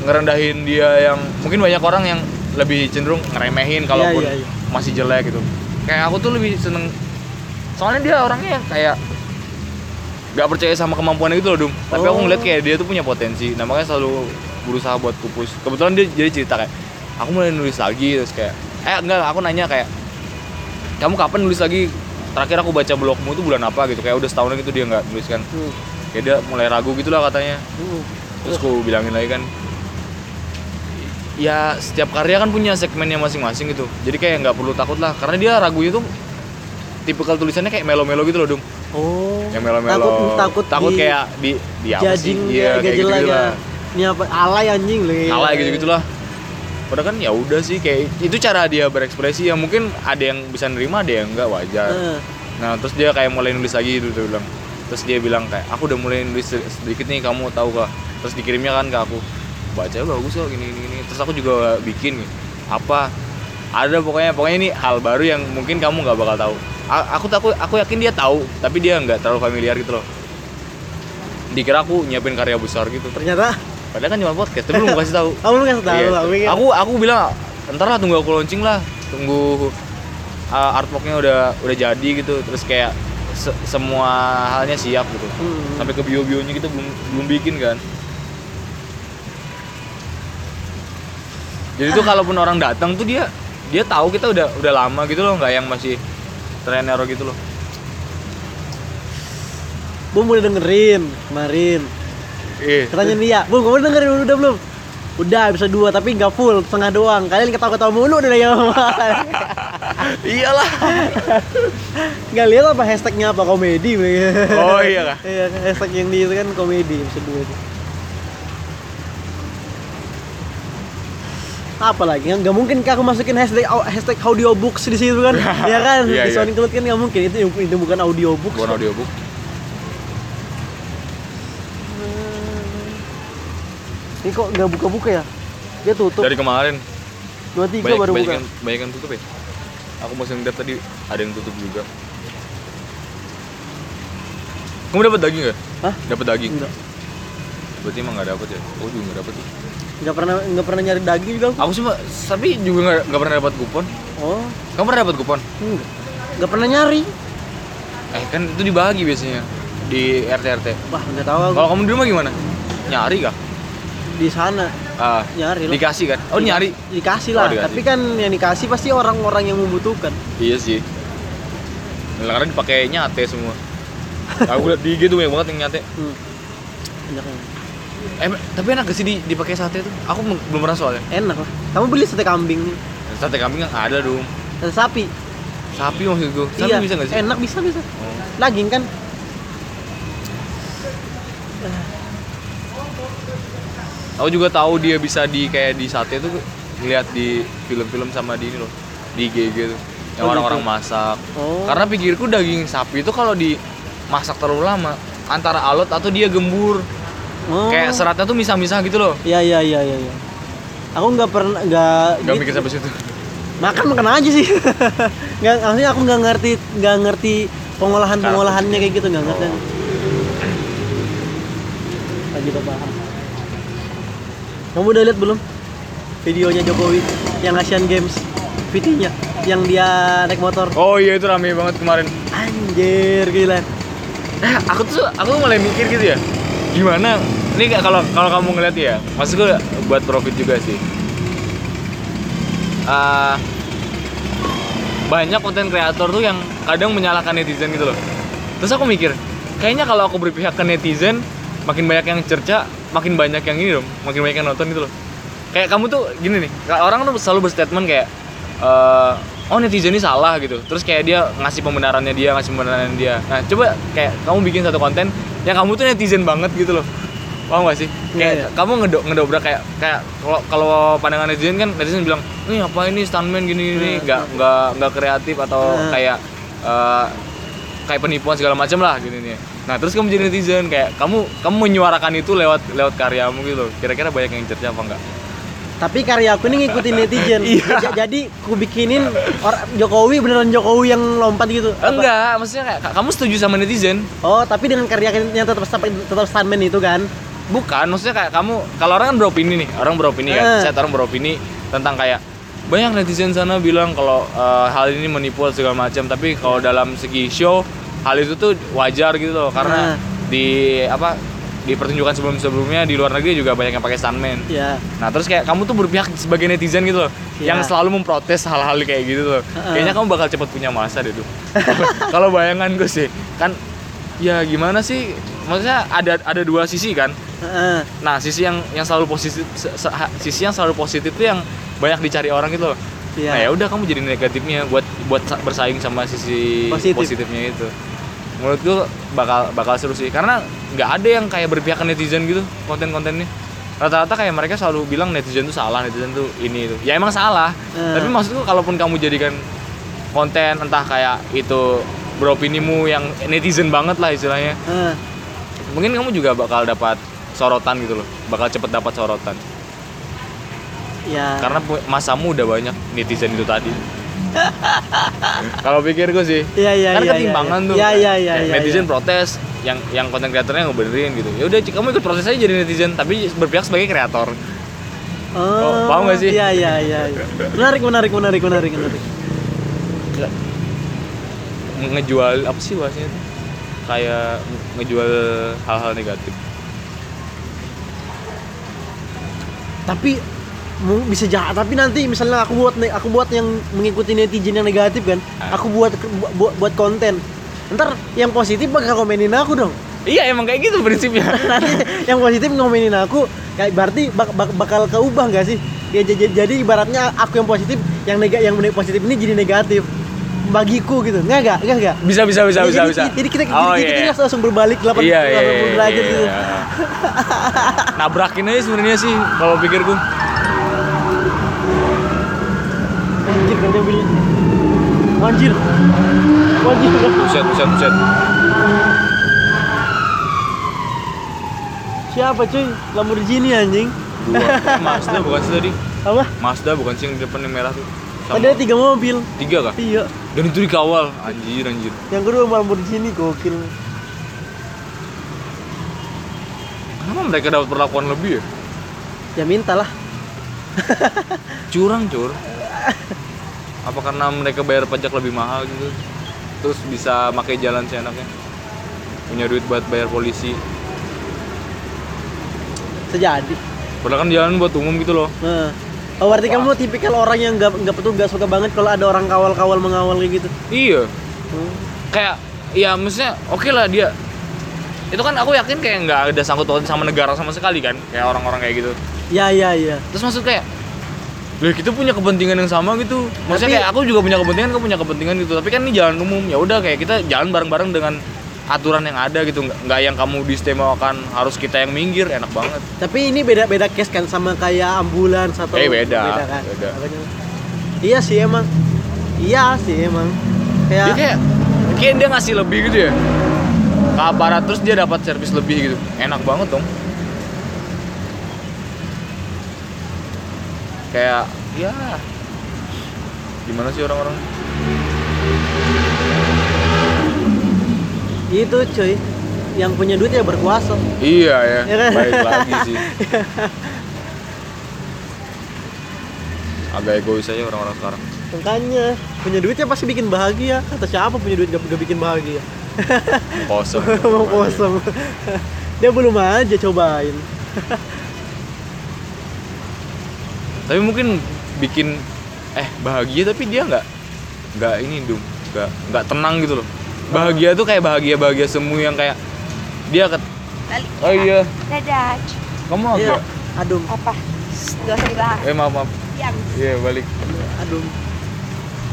ngerendahin dia yang mungkin banyak orang yang lebih cenderung ngeremehin kalaupun
iya, iya.
masih jelek gitu kayak aku tuh lebih seneng soalnya dia orangnya yang kayak gak percaya sama kemampuannya gitu loh Dum tapi aku
Oh.
ngeliat kayak dia tuh punya potensi nah makanya selalu berusaha buat kupus kebetulan dia jadi cerita kayak aku mulai nulis lagi terus kayak eh enggak aku nanya kayak kamu kapan nulis lagi terakhir aku baca blogmu tuh bulan apa gitu kayak udah setahunan gitu dia nggak nulis kan
Hmm,
kayak dia mulai ragu gitu lah katanya
hmm.
terus aku bilangin lagi kan ya setiap karya kan punya segmennya masing-masing gitu jadi kayak nggak perlu takut lah karena dia ragunya tuh tipikal tulisannya kayak melo-melo gitu loh dum
Oh.
yang melo-melo
Takut takut di-
kayak di di apa sih
judging
iya
ya,
kayak
kayak
gitu
jelek ya. Iya.
lah
Ini apa alay anjing lu.
kalah gitu gitulah padahal kan ya udah sih kayak itu cara dia berekspresi ya mungkin ada yang bisa nerima ada yang nggak wajar
Heeh.
Nah terus dia kayak mulai nulis lagi gitu dia bilang Terus dia bilang kayak aku udah mulai nulis sedi- sedikit nih kamu tahu gak Terus dikirimnya kan ke aku Baca bagus kok gini gini gini Terus aku juga bikin apa Ada pokoknya pokoknya ini hal baru yang mungkin kamu nggak bakal tahu A- Aku takut aku yakin dia tahu tapi dia nggak terlalu familiar gitu loh Dikira aku nyiapin karya besar gitu
Ternyata
Padahal kan cuma podcast tapi belum kasih tahu
kamu enggak tahu,
Iya.
aku pikir.
aku aku bilang ntar lah tunggu aku launching lah tunggu uh, artworknya udah udah jadi gitu terus kayak se- semua halnya siap gitu
Hmm.
sampai ke bio bionya kita belum belum bikin kan jadi
Ah.
tuh kalaupun orang datang tuh dia dia tahu kita udah udah lama gitu loh nggak yang masih trainer gitu loh
Gua mulai dengerin kemarin.
Iya.
Katanya Nia, Bung, kamu dengerin udah belum? Udah bisa dua tapi nggak full, setengah doang. Kalian ketawa-ketawa mulu udah ya.
Iyalah.
Nggak lihat apa hashtagnya apa komedi.
Oh, iya kah?
Iya, hashtag yang di itu kan komedi bisa dua itu. apa lagi nggak nggak mungkin kah aku masukin hashtag hashtag audiobooks di situ kan ya kan di
Iya, iya.
Sonic Cloud kan nggak mungkin itu itu bukan audiobooks
Bukan audiobook.
ini kok nggak buka-buka ya dia tutup
Dari kemarin
dua tiga
banyak
baru
banyak
buka
yang, banyak yang tutup ya. Aku mau ngeliat tadi ada yang tutup juga. Kamu dapat daging nggak?
Hah?
Dapat daging.
Enggak.
Berarti emang nggak dapat ya? Oh juga nggak dapat. Ya.
nggak pernah nggak pernah nyari daging juga aku.
Aku cuma tapi juga nggak nggak pernah dapat kupon.
oh
Kamu pernah dapat kupon?
enggak nggak pernah nyari
Eh kan itu dibagi biasanya di RT RT.
wah nggak tahu aku
Kalau kamu di rumah gimana? Nyari kah?
di sana
Ah,
nyari lah
dikasih kan? Oh
Dika-
nyari.
dikasih
Oh,
lah
dikasih.
tapi kan yang dikasih pasti orang-orang yang membutuhkan
Iya sih. Nah, karena dipakai nyate semua. Aku liat di IG tuh banyak banget yang nyate.
hmm. Banyak yang-
Eh, tapi enak gak sih di- dipakai sate tuh? Aku m- belum pernah soalnya.
enak lah kamu beli sate kambing nih
Sate kambing yang ada dong.
sate sapi
Sapi maksud gue. Sapi
iya
bisa gak sih?
enak bisa bisa
Oh.
daging kan
Aku juga tahu dia bisa di kayak di sate tuh lihat di film-film sama di ini loh. Di IG gitu. Yang
Oh,
orang-orang
gitu.
masak.
oh
Karena pikirku daging sapi itu kalau dimasak terlalu lama antara alot atau dia gembur.
oh.
Kayak seratnya tuh misah-misah gitu loh.
iya iya iya iya iya. aku nggak pernah nggak
Gak
gitu.
mikir sampai situ.
makan makan aja sih nggak maksudnya aku nggak ngerti nggak ngerti pengolahan pengolahannya kayak gitu nggak
Oh.
ngerti lagi udah paham kamu udah lihat belum videonya Jokowi yang Asian Games VT-nya yang dia naik motor
Oh iya itu rame banget kemarin.
anjir gila
Nah, aku tuh aku mulai mikir gitu ya. Gimana? Ini nggak- kalau kalau kamu ngeliat ya, maksud gue buat profit juga sih. Ah, banyak konten kreator tuh yang kadang menyalahkan netizen gitu loh. Terus aku mikir, kayaknya kalau aku berpihak ke netizen, makin banyak yang cerca, makin banyak yang ini dong, makin banyak yang nonton gitu loh. Kayak kamu tuh gini nih, orang tuh selalu berstatement kayak eh, oh netizen ini salah gitu. Terus kayak dia ngasih pembenarannya dia, ngasih pembenarannya dia. Nah, coba kayak kamu bikin satu konten yang kamu tuh netizen banget gitu loh. Paham gak sih? Kayak
Iya, iya.
kamu ngedo- ngedobrak kayak kayak kalau kalau pandangan netizen kan netizen bilang, "Ini apa ini stuntman gini gini,
Hmm.
nggak nggak nggak kreatif atau
Hmm.
kayak eh, kayak penipuan segala macam lah gitu nih. Nah terus kamu jadi netizen kayak kamu kamu menyuarakan itu lewat lewat karyamu gitu. Kira-kira banyak yang cerca apa enggak?
tapi karya aku ini ngikutin netizen
Iya.
Ja- jadi aku bikinin or- Jokowi beneran Jokowi yang lompat gitu Apa?
Enggak, maksudnya kayak ka- kamu setuju sama netizen?
oh tapi dengan karyanya tetap tetap stuntman itu kan
Bukan, maksudnya kayak kamu kalau orang kan beropini nih, orang beropini
Eh.
kan, saya orang beropini tentang kayak banyak netizen sana bilang kalau eh, hal ini menipu atau segala macam, tapi kalau
Iya.
dalam segi show hal itu tuh wajar gitu loh
Nah.
karena di apa di pertunjukan sebelum-sebelumnya di luar negeri juga banyak yang pakai stuntman.
ya
Nah terus kayak kamu tuh berpihak sebagai netizen gitu loh
Iya.
Yang selalu memprotes hal-hal kayak gitu loh
Heeh.
Kayaknya kamu bakal cepet punya masa deh tuh Kalau bayangan gue sih Kan ya gimana sih Maksudnya ada ada dua sisi kan
Heeh.
Nah sisi yang yang selalu positif se- se- ha- Sisi yang selalu positif tuh yang banyak dicari orang gitu loh
Iya.
Nah ya udah kamu jadi negatifnya buat buat sa- bersaing sama sisi
Positif.
positifnya itu Menurut gue bakal bakal seru sih Karena nggak ada yang kayak berpihak ke netizen gitu konten-kontennya Rata-rata kayak mereka selalu bilang netizen tuh salah, netizen tuh ini itu Ya emang salah
Eh.
Tapi maksud gue kalaupun kamu jadikan konten entah kayak itu beropinimu yang netizen banget lah istilahnya
Heeh.
Mungkin kamu juga bakal dapat sorotan gitu loh Bakal cepet dapat sorotan
ya
karena pu- masamu udah banyak netizen itu tadi kalau pikir gue sih
Iya iya
kan
iya.
ketimbangan
iya.
tuh
Iya iya iya.
Kayak
iya,
netizen
iya.
protes yang yang konten kreatornya ngebenerin gitu ya udah Cik, kamu ikut proses aja jadi netizen tapi berpihak sebagai kreator
Oh,
paham nggak sih?
Iya iya iya. iya. Menarik menarik menarik menarik menarik.
ngejual apa sih bahasanya itu kayak ngejual hal-hal negatif
Tapi mu- bisa jahat tapi nanti misalnya aku buat ne- aku buat yang mengikuti netizen yang negatif kan
Ah.
aku buat bu- bu- buat konten ntar yang positif bakal komenin aku dong
Iya emang kayak gitu prinsipnya.
nanti yang positif ngomelin aku kayak berarti bak- bak- bakal keubah gak sih ya jadi, jadi ibaratnya aku yang positif yang nega yang bener- positif ini jadi negatif bagiku gitu nggak nggak nggak nggak
Bisa bisa bisa
Jadi-
bisa
jadi,
bisa.
jadi kita jadi,
Oh,
jadi
iya.
kita langsung- langsung berbalik 80
Iya, iya,
80
iya,
derajat gitu
iya. Nabrakin aja sebenarnya sih kalau pikir gue.
anjir kan dia bunyi anjir anjir
Buset buset buset.
siapa cuy Lamborghini anjing
Dua. Eh, Mazda bukan sih tadi.
apa
Mazda bukan sih yang di depan yang merah tuh. Sama-
ada tiga mobil
tiga kah?
iya
Dan itu dikawal. Anjir anjir.
yang kedua Lamborghini gokil
Kenapa mereka dapat perlakuan lebih ya?
ya mintalah
Curang cur. Apa karena mereka bayar pajak lebih mahal gitu? Terus bisa pakai jalan seenaknya. Punya duit buat bayar polisi.
sejadi
Padahal kan jalan buat umum gitu loh.
Nah. Oh, berarti kamu tipikal orang yang nggak nggak betul nggak suka banget kalau ada orang kawal-kawal mengawal kayak gitu.
Iya.
Hmm.
kayak ya maksudnya oke lah dia itu kan aku yakin kayak nggak ada sangkut pautnya sama negara sama sekali kan kayak orang-orang kayak gitu
Ya ya ya.
terus maksud kayak lah kita punya kepentingan yang sama gitu
Tapi-
maksudnya kayak aku juga punya kepentingan kamu punya kepentingan gitu tapi kan ini jalan umum ya udah kayak kita jalan bareng-bareng dengan aturan yang ada gitu nggak nggak yang kamu diistimewakan harus kita yang minggir enak banget
Tapi ini beda beda case kan sama kayak ambulans atau
Eh, beda.
kan?
Beda.
Makanya. Iya sih emang. Iya sih emang.
dia
Kayak
kayak kayak dia ngasih lebih gitu ya ke aparat terus dia dapat servis lebih gitu enak banget dong kayak ya gimana sih orang-orang
itu gitu, cuy. Yang punya duit ya berkuasa.
iya ya
Iya kan?
baik lagi sih agak egois aja orang-orang sekarang
Makanya punya duit ya pasti bikin bahagia. Kata siapa punya duit gak, gak bikin bahagia?
kosong
Mau kosong. Dia belum aja cobain.
tapi mungkin bikin eh bahagia tapi dia nggak nggak ini dum nggak nggak tenang gitu loh bahagia tuh kayak bahagia bahagia semu yang kayak dia ket
Balik.
oh iya
Dadah.
kamu
Iya.
agak
Adum,
Apa? Shh, Gak usah dibahas.
eh maaf maaf
Diam.
iya balik
adum.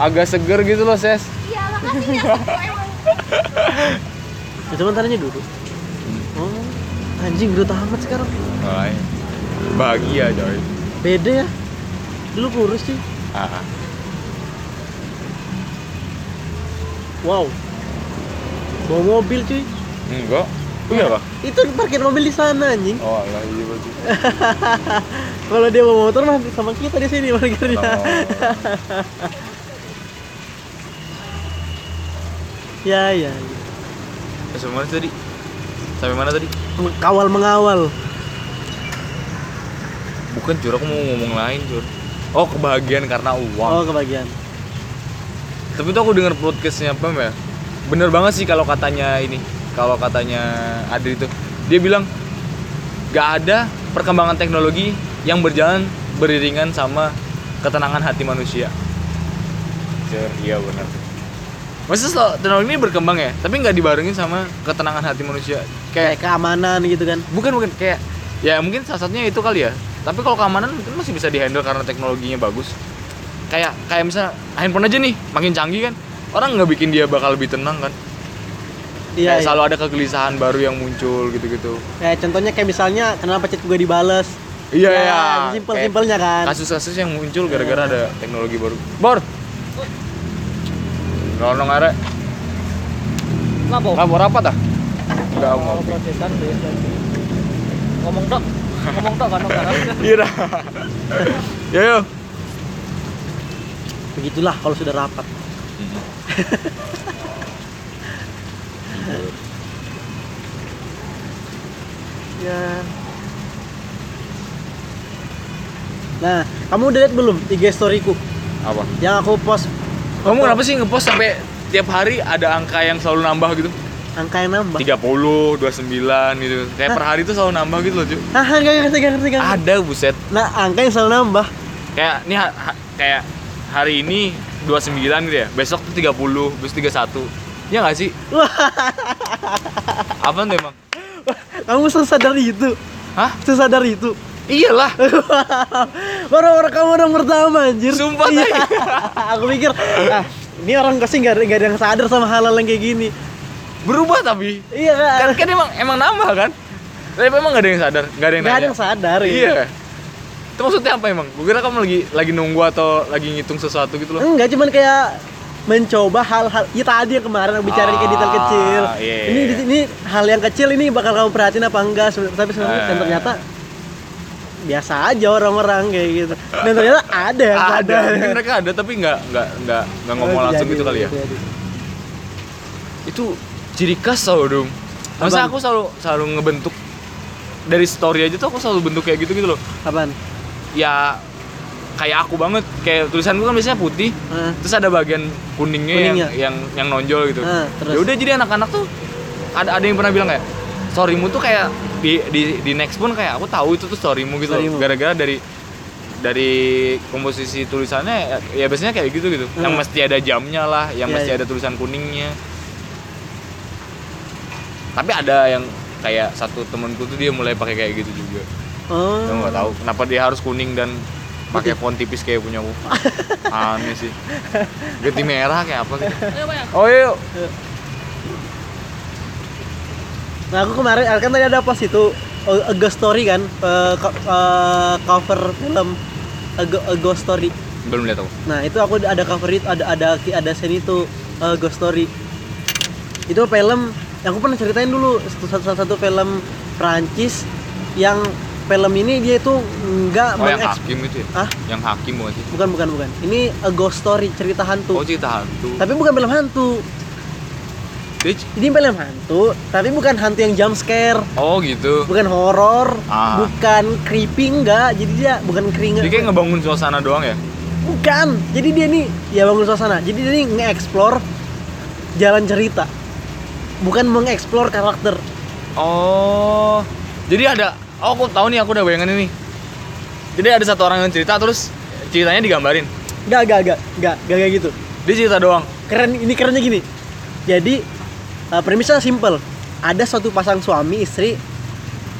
agak seger gitu loh ses
Iya, makasih ya. Aku emang.
Ya, cuman tadinya duduk. Oh, anjing udah tamat sekarang.
Ay, bahagia coy
Beda ya. Dulu kurus sih.
ah
Wow. Bawa mobil cuy.
enggak iya kah
Itu parkir mobil di sana anjing.
oh alah iya bagus
Kalau dia bawa motor mah sama kita di sini parkirnya.
Oh.
ya ya. ya.
Eh, sampai mana tadi sampai mana tadi
Kawal mengawal.
bukan cur aku mau ngomong lain cur oh kebahagiaan karena uang
Oh kebagian.
Tapi tuh aku denger podcastnya Pam ya Bener banget sih kalau katanya ini Kalau katanya Adri itu Dia bilang Gak ada perkembangan teknologi yang berjalan beriringan sama ketenangan hati manusia Iya bener Maksudnya sel- teknologi ini berkembang ya Tapi nggak dibarengin sama ketenangan hati manusia Kayak
Kayak keamanan gitu kan.
bukan bukan kayak ya mungkin salah satunya itu kali ya tapi kalau keamanan mungkin masih bisa dihandle karena teknologinya bagus kayak kayak misalnya handphone aja nih makin canggih kan orang nggak bikin dia bakal lebih tenang kan
Iya.
kayak
iya.
selalu ada kegelisahan baru yang muncul gitu-gitu
Kayak contohnya kayak misalnya kenapa chat gue dibales.
iya
Ya,
ya Kayak
Simpel-simpelnya kan. Iya.
kasus-kasus yang muncul gara-gara ada teknologi baru bor lonong arek
Oh.
Kenapa?
kabur apa tah ah? nggak mau
Kalau protestan beda. Ngomong dok, ngomong dok kan orang
iya dah. yo yo
Begitulah kalau sudah rapat. Ya. Nah, kamu udah lihat belum IG storyku
apa
yang aku post
kamu kenapa sih ngepost sampai tiap hari ada angka yang selalu nambah gitu
angka yang nambah?
30, 29 gitu. Kayak per hari itu selalu nambah gitu loh, Ju.
Nah, enggak ngerti, enggak ngerti, enggak ngerti.
Ada buset.
Nah, angka yang selalu nambah.
Kayak nih ha- ha- kayak hari Iya ini 29 gitu ya. Besok tuh 30, terus 31. Ya nggak sih? Apaan tuh emang?
Kamu sesadar itu?
Hah?
Sesadar itu?
Iyalah.
Orang-orang kamu orang pertama anjir
Sumpah,
Iya.
Tai.
Aku pikir, ah, ini orang pasti nggak ada, nggak ada yang sadar sama hal-hal yang kayak gini
Berubah tapi.
Iya
Kan
kan?
kan emang emang nambah kan? Tapi emang gak ada yang sadar, gak ada yang
Nggak ada
nanya.
yang sadar ya.
Iya. Itu maksudnya apa emang? Gue kira kamu lagi lagi nunggu atau lagi ngitung sesuatu gitu loh.
Enggak, cuman kayak mencoba hal-hal ya tadi yang kemarin aku bicara kayak detail
Ah,
kecil.
iya, iya,
Ini
iya.
ini hal yang kecil ini bakal kamu perhatiin apa enggak? Seben- Tapi sebenarnya dan
Ah.
ternyata biasa aja orang-orang kayak gitu. Dan ternyata Iya, ada yang
Ada,
sadar.
mungkin mereka ada tapi nggak nggak nggak nggak ngomong
Bisa
langsung
jadi,
gitu kali ya.
bisa jadi.
Itu ciri khas selalu dong. Masa
Abang.
aku selalu selalu ngebentuk dari story aja tuh aku selalu bentuk kayak gitu gitu loh.
Apaan?
Ya kayak aku banget kayak tulisanku kan biasanya putih
Hah?
terus ada bagian kuningnya,
Kuningnya.
yang yang yang nonjol gitu.
Ah, terus?
Ya udah jadi anak-anak tuh ada ada yang pernah bilang kayak storymu tuh kayak di, di di next pun kayak aku tahu itu tuh storymu gitu loh.
Storymu.
gara-gara dari dari komposisi tulisannya ya- ya biasanya kayak gitu gitu yang
Hmm.
mesti ada jamnya lah yang
Iya,
mesti
iya.
ada tulisan kuningnya tapi ada yang kayak satu temenku tuh dia mulai pakai kayak gitu juga
Oh.
Gue nggak tahu kenapa dia harus kuning dan pakai font tipis kayak punya aku. Aneh sih. Geti merah kayak apa gitu.
Ayo bayang.
Oh iya.
Nah, aku kemarin kan tadi ada post itu A Ghost Story kan, eh, co- eh, cover film A Go- A Ghost Story.
Belum lihat aku.
Nah itu aku ada cover itu ada ada ada scene itu eh, ghost story. Itu film aku pernah ceritain dulu satu satu, satu- satu film Prancis yang film ini dia itu nggak
Oh yang
mengeks-
hakim itu ya?
ah
Yang hakim bukan sih?
bukan bukan bukan ini a ghost story cerita
Oh
hantu
cerita hantu.
tapi bukan film hantu
Dia c-
ini film hantu tapi bukan hantu yang jump scare
Oh gitu.
bukan horor
Ah.
bukan creepy enggak jadi dia bukan keringet
Jadi kayak ngebangun suasana doang ya?
Bukan. Jadi dia nih ya bangun suasana. Jadi dia nih nge-explore jalan cerita. Bukan mengeksplor karakter.
Oh. Jadi ada Oh aku tahu nih aku udah bayangan ini. Jadi ada satu orang yang cerita terus ceritanya digambarin.
Gak, gak, gak, gak, gak kayak gitu.
Dia cerita doang.
Keren, ini kerennya gini. Jadi eh, premisnya simple. Ada suatu pasang suami istri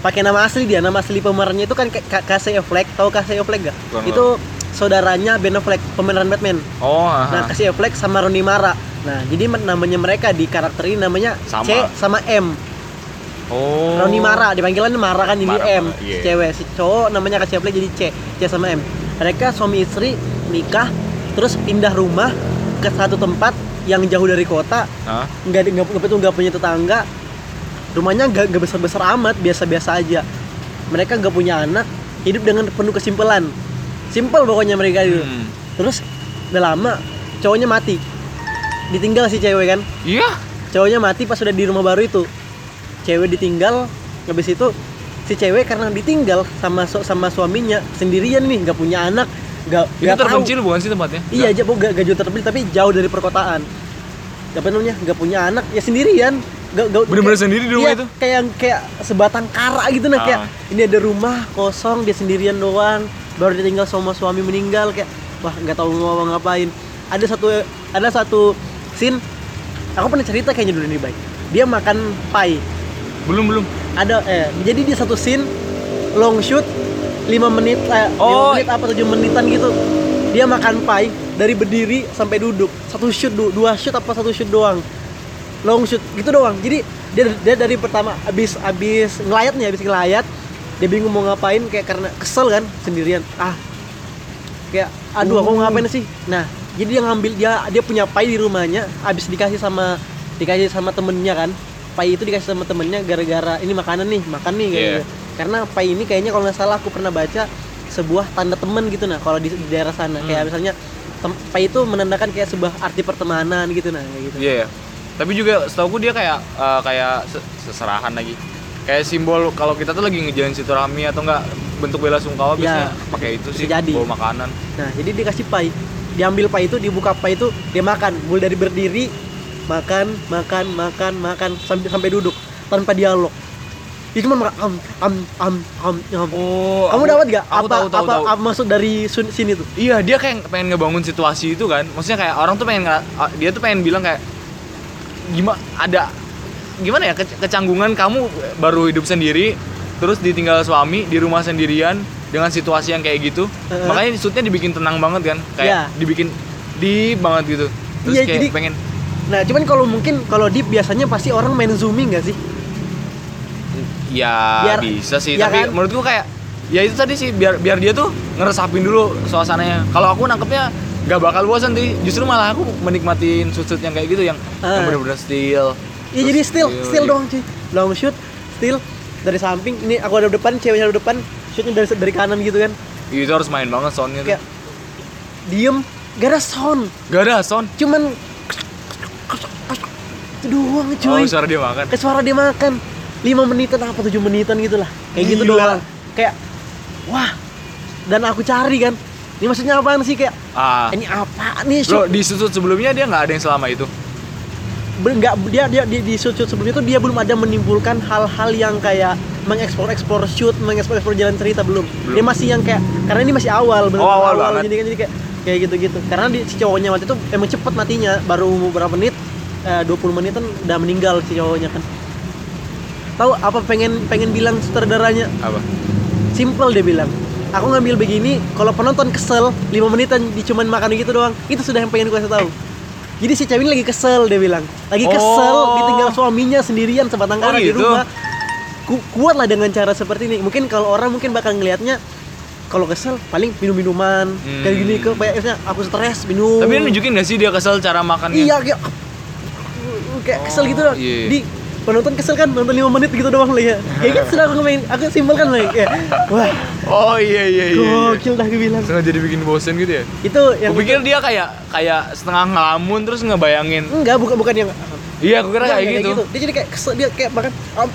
pakai nama asli dia. Nama asli pemerannya itu kan Ka- Casey Affleck. Tahu Casey Affleck gak?
Bukan,
itu saudaranya Ben Affleck, pemeran Batman.
Oh,
Nah,
aha.
Casey Affleck sama Rooney Mara. Nah, jadi men- namanya mereka di karakter ini namanya
Sama.
C sama M.
Oh.
Roni Mara, dipanggilannya Mara kan jadi
Mara,
M,
Mara,
si
iya.
cewek, si cowok namanya kasih Affleck jadi C, C sama M. Mereka suami istri nikah, terus pindah rumah ke satu tempat yang jauh dari kota,
Hah?
nggak nggak nggak- nggak punya tetangga, rumahnya nggak nggak besar besar amat, biasa biasa aja. Mereka nggak punya anak, hidup dengan penuh kesimpelan, simple pokoknya mereka itu.
Hmm.
Terus udah lama cowoknya mati, ditinggal si cewek kan
Iya.
cowoknya mati pas sudah di rumah baru itu cewek ditinggal habis itu si cewek karena ditinggal sama su- sama suaminya sendirian nih nggak punya anak nggak
Itu
nggak tahu
terpencil bukan sih tempatnya?
iya aja bu nggak nggak jauh terpencil tapi jauh dari perkotaan apa namanya nggak punya anak ya sendirian nggak nggak
Bener-bener
kayak-
sendiri di rumah
iya,
itu?
kayak kayak sebatang kara gitu nah kayak
Ah.
ini ada rumah kosong dia sendirian doang baru ditinggal sama suami meninggal kayak wah nggak tahu mau ngapain ada satu ada satu scene aku pernah cerita kayaknya dulu nih baik dia makan pie
Belum belum.
ada eh jadi dia satu scene long shoot 5 menit eh, 5
Oh.
menit apa 7 menitan gitu dia makan pie dari berdiri sampai duduk satu shoot du- dua shoot apa satu shoot doang long shoot gitu doang jadi dia, dia dari pertama abis abis ngelayat nih abis ngelayat dia bingung mau ngapain kayak karena kesel kan sendirian ah kayak aduh aku mau ngapain sih nah jadi dia ngambil dia dia punya pai di rumahnya abis dikasih sama dikasih sama temennya kan pai itu dikasih sama temennya gara-gara ini makanan nih makan nih kayak
Iya.
gitu. karena pai ini kayaknya kalau nggak salah aku pernah baca sebuah tanda temen gitu nah kalau di, di daerah sana kayak misalnya tem- pai itu menandakan kayak sebuah arti pertemanan gitu nah kayak gitu
Iya. ya. Tapi juga setauku dia kayak eh, kayak se- seserahan lagi. Kayak simbol kalau kita tuh lagi ngejalan silaturahmi atau enggak bentuk bela sungkawa biasanya
Iya.
pakai itu sih
Bisa jadi.
bawa makanan.
Nah, jadi dikasih pai. Diambil pai itu, dibuka pai itu, dia makan. Mulai dari berdiri, makan, makan, makan, makan sampai sampai duduk tanpa dialog. Dia cuma makan am am am am. am.
Oh.
Kamu dapat gak apa
Aku tahu tahu
apa,
tahu.
apa maksud dari sun- sini tuh?
Iya, dia kayak pengen ngebangun situasi itu kan. Maksudnya kayak orang tuh pengen ngera- dia tuh pengen bilang kayak gimana ada gimana ya ke- kecanggungan kamu baru hidup sendiri terus ditinggal suami di rumah sendirian dengan situasi yang kayak gitu
Heeh.
makanya shootnya dibikin tenang banget kan kayak
Iya.
dibikin di banget gitu terus
Iya,
kayak
jadi-
pengen
Nah, cuman kalau mungkin kalau deep biasanya pasti orang main zooming gak sih?
ya
Biar-
bisa sih
iya
tapi
kan?
menurutku kayak ya itu tadi sih biar biar dia tuh ngeresapin dulu suasananya kalau aku nangkepnya gak bakal bosan sih justru malah aku menikmatin shoot-shoot yang kayak gitu yang yang
Ah.
bener-bener still
Iya
Terus
jadi still, still
gitu.
doang cuy. Long shoot, still dari samping. Ini aku ada depan, ceweknya ada depan, shootnya dari dari kanan gitu kan.
Iya, itu harus main banget soundnya tuh
Kayak diem, gak ada sound,
gak ada sound
cuman itu doang
oh
cuy.
suara dia makan
Kayak suara dia makan 5 menitan apa 7 menitan gitu lah. Kayak gitu
Gila.
doang. Kayak wah. Dan aku cari kan. Ini maksudnya apaan sih kayak
ah
ini apa nih shoot?
Bro, di sudut sebelumnya dia nggak ada yang selama itu.
Be- nggak dia dia di, di shoot shoot sebelumnya tuh dia belum ada menimbulkan hal-hal yang kayak mengeksplor eksplor shoot mengeksplor eksplor jalan cerita belum.
Belum. Oh,
dia masih yang kayak karena ini masih awal bener-bener
awal banget.
jadi kan jadi kayak kayak gitu gitu karena di, si cowoknya waktu itu emang cepet matinya baru beberapa menit eh, 20 menit kan udah meninggal si cowoknya kan tahu apa pengen pengen bilang sutradaranya
Apa?
simple dia bilang aku ngambil begini kalau penonton kesel 5 menitan di- cuman makan gitu doang itu sudah yang pengen gue kasih tahu jadi si cewek ini lagi kesel dia bilang lagi kesel
Oh.
ditinggal suaminya sendirian sebatang
Oh,
kara di
gitu.
rumah Ku- kuatlah dengan cara seperti ini mungkin kalau orang mungkin bakal ngelihatnya kalau kesel paling minum minuman
Hmm.
kayak gini kayak kayaknya aku stres minum
Tapi dia nunjukin nggak sih dia kesel cara
Oh.
makannya?
iya kayak kayak kesel gitu
Oh,
doang
iya.
di penonton kesel kan nonton 5 menit gitu doang lah ya kayak gitu aku main aku simpel kan lah ya wah
Oh iya iya iya. iya.
Gokil dah gue bilang.
Sengaja dibikin bosen gitu ya?
Itu yang
Gue pikir dia kayak kayak setengah ngelamun terus ngebayangin.
enggak bukan bukan yang
Iya, aku
enggak,
kira kayak
enggak
gitu.
Dia jadi kayak kesel, dia kayak makan am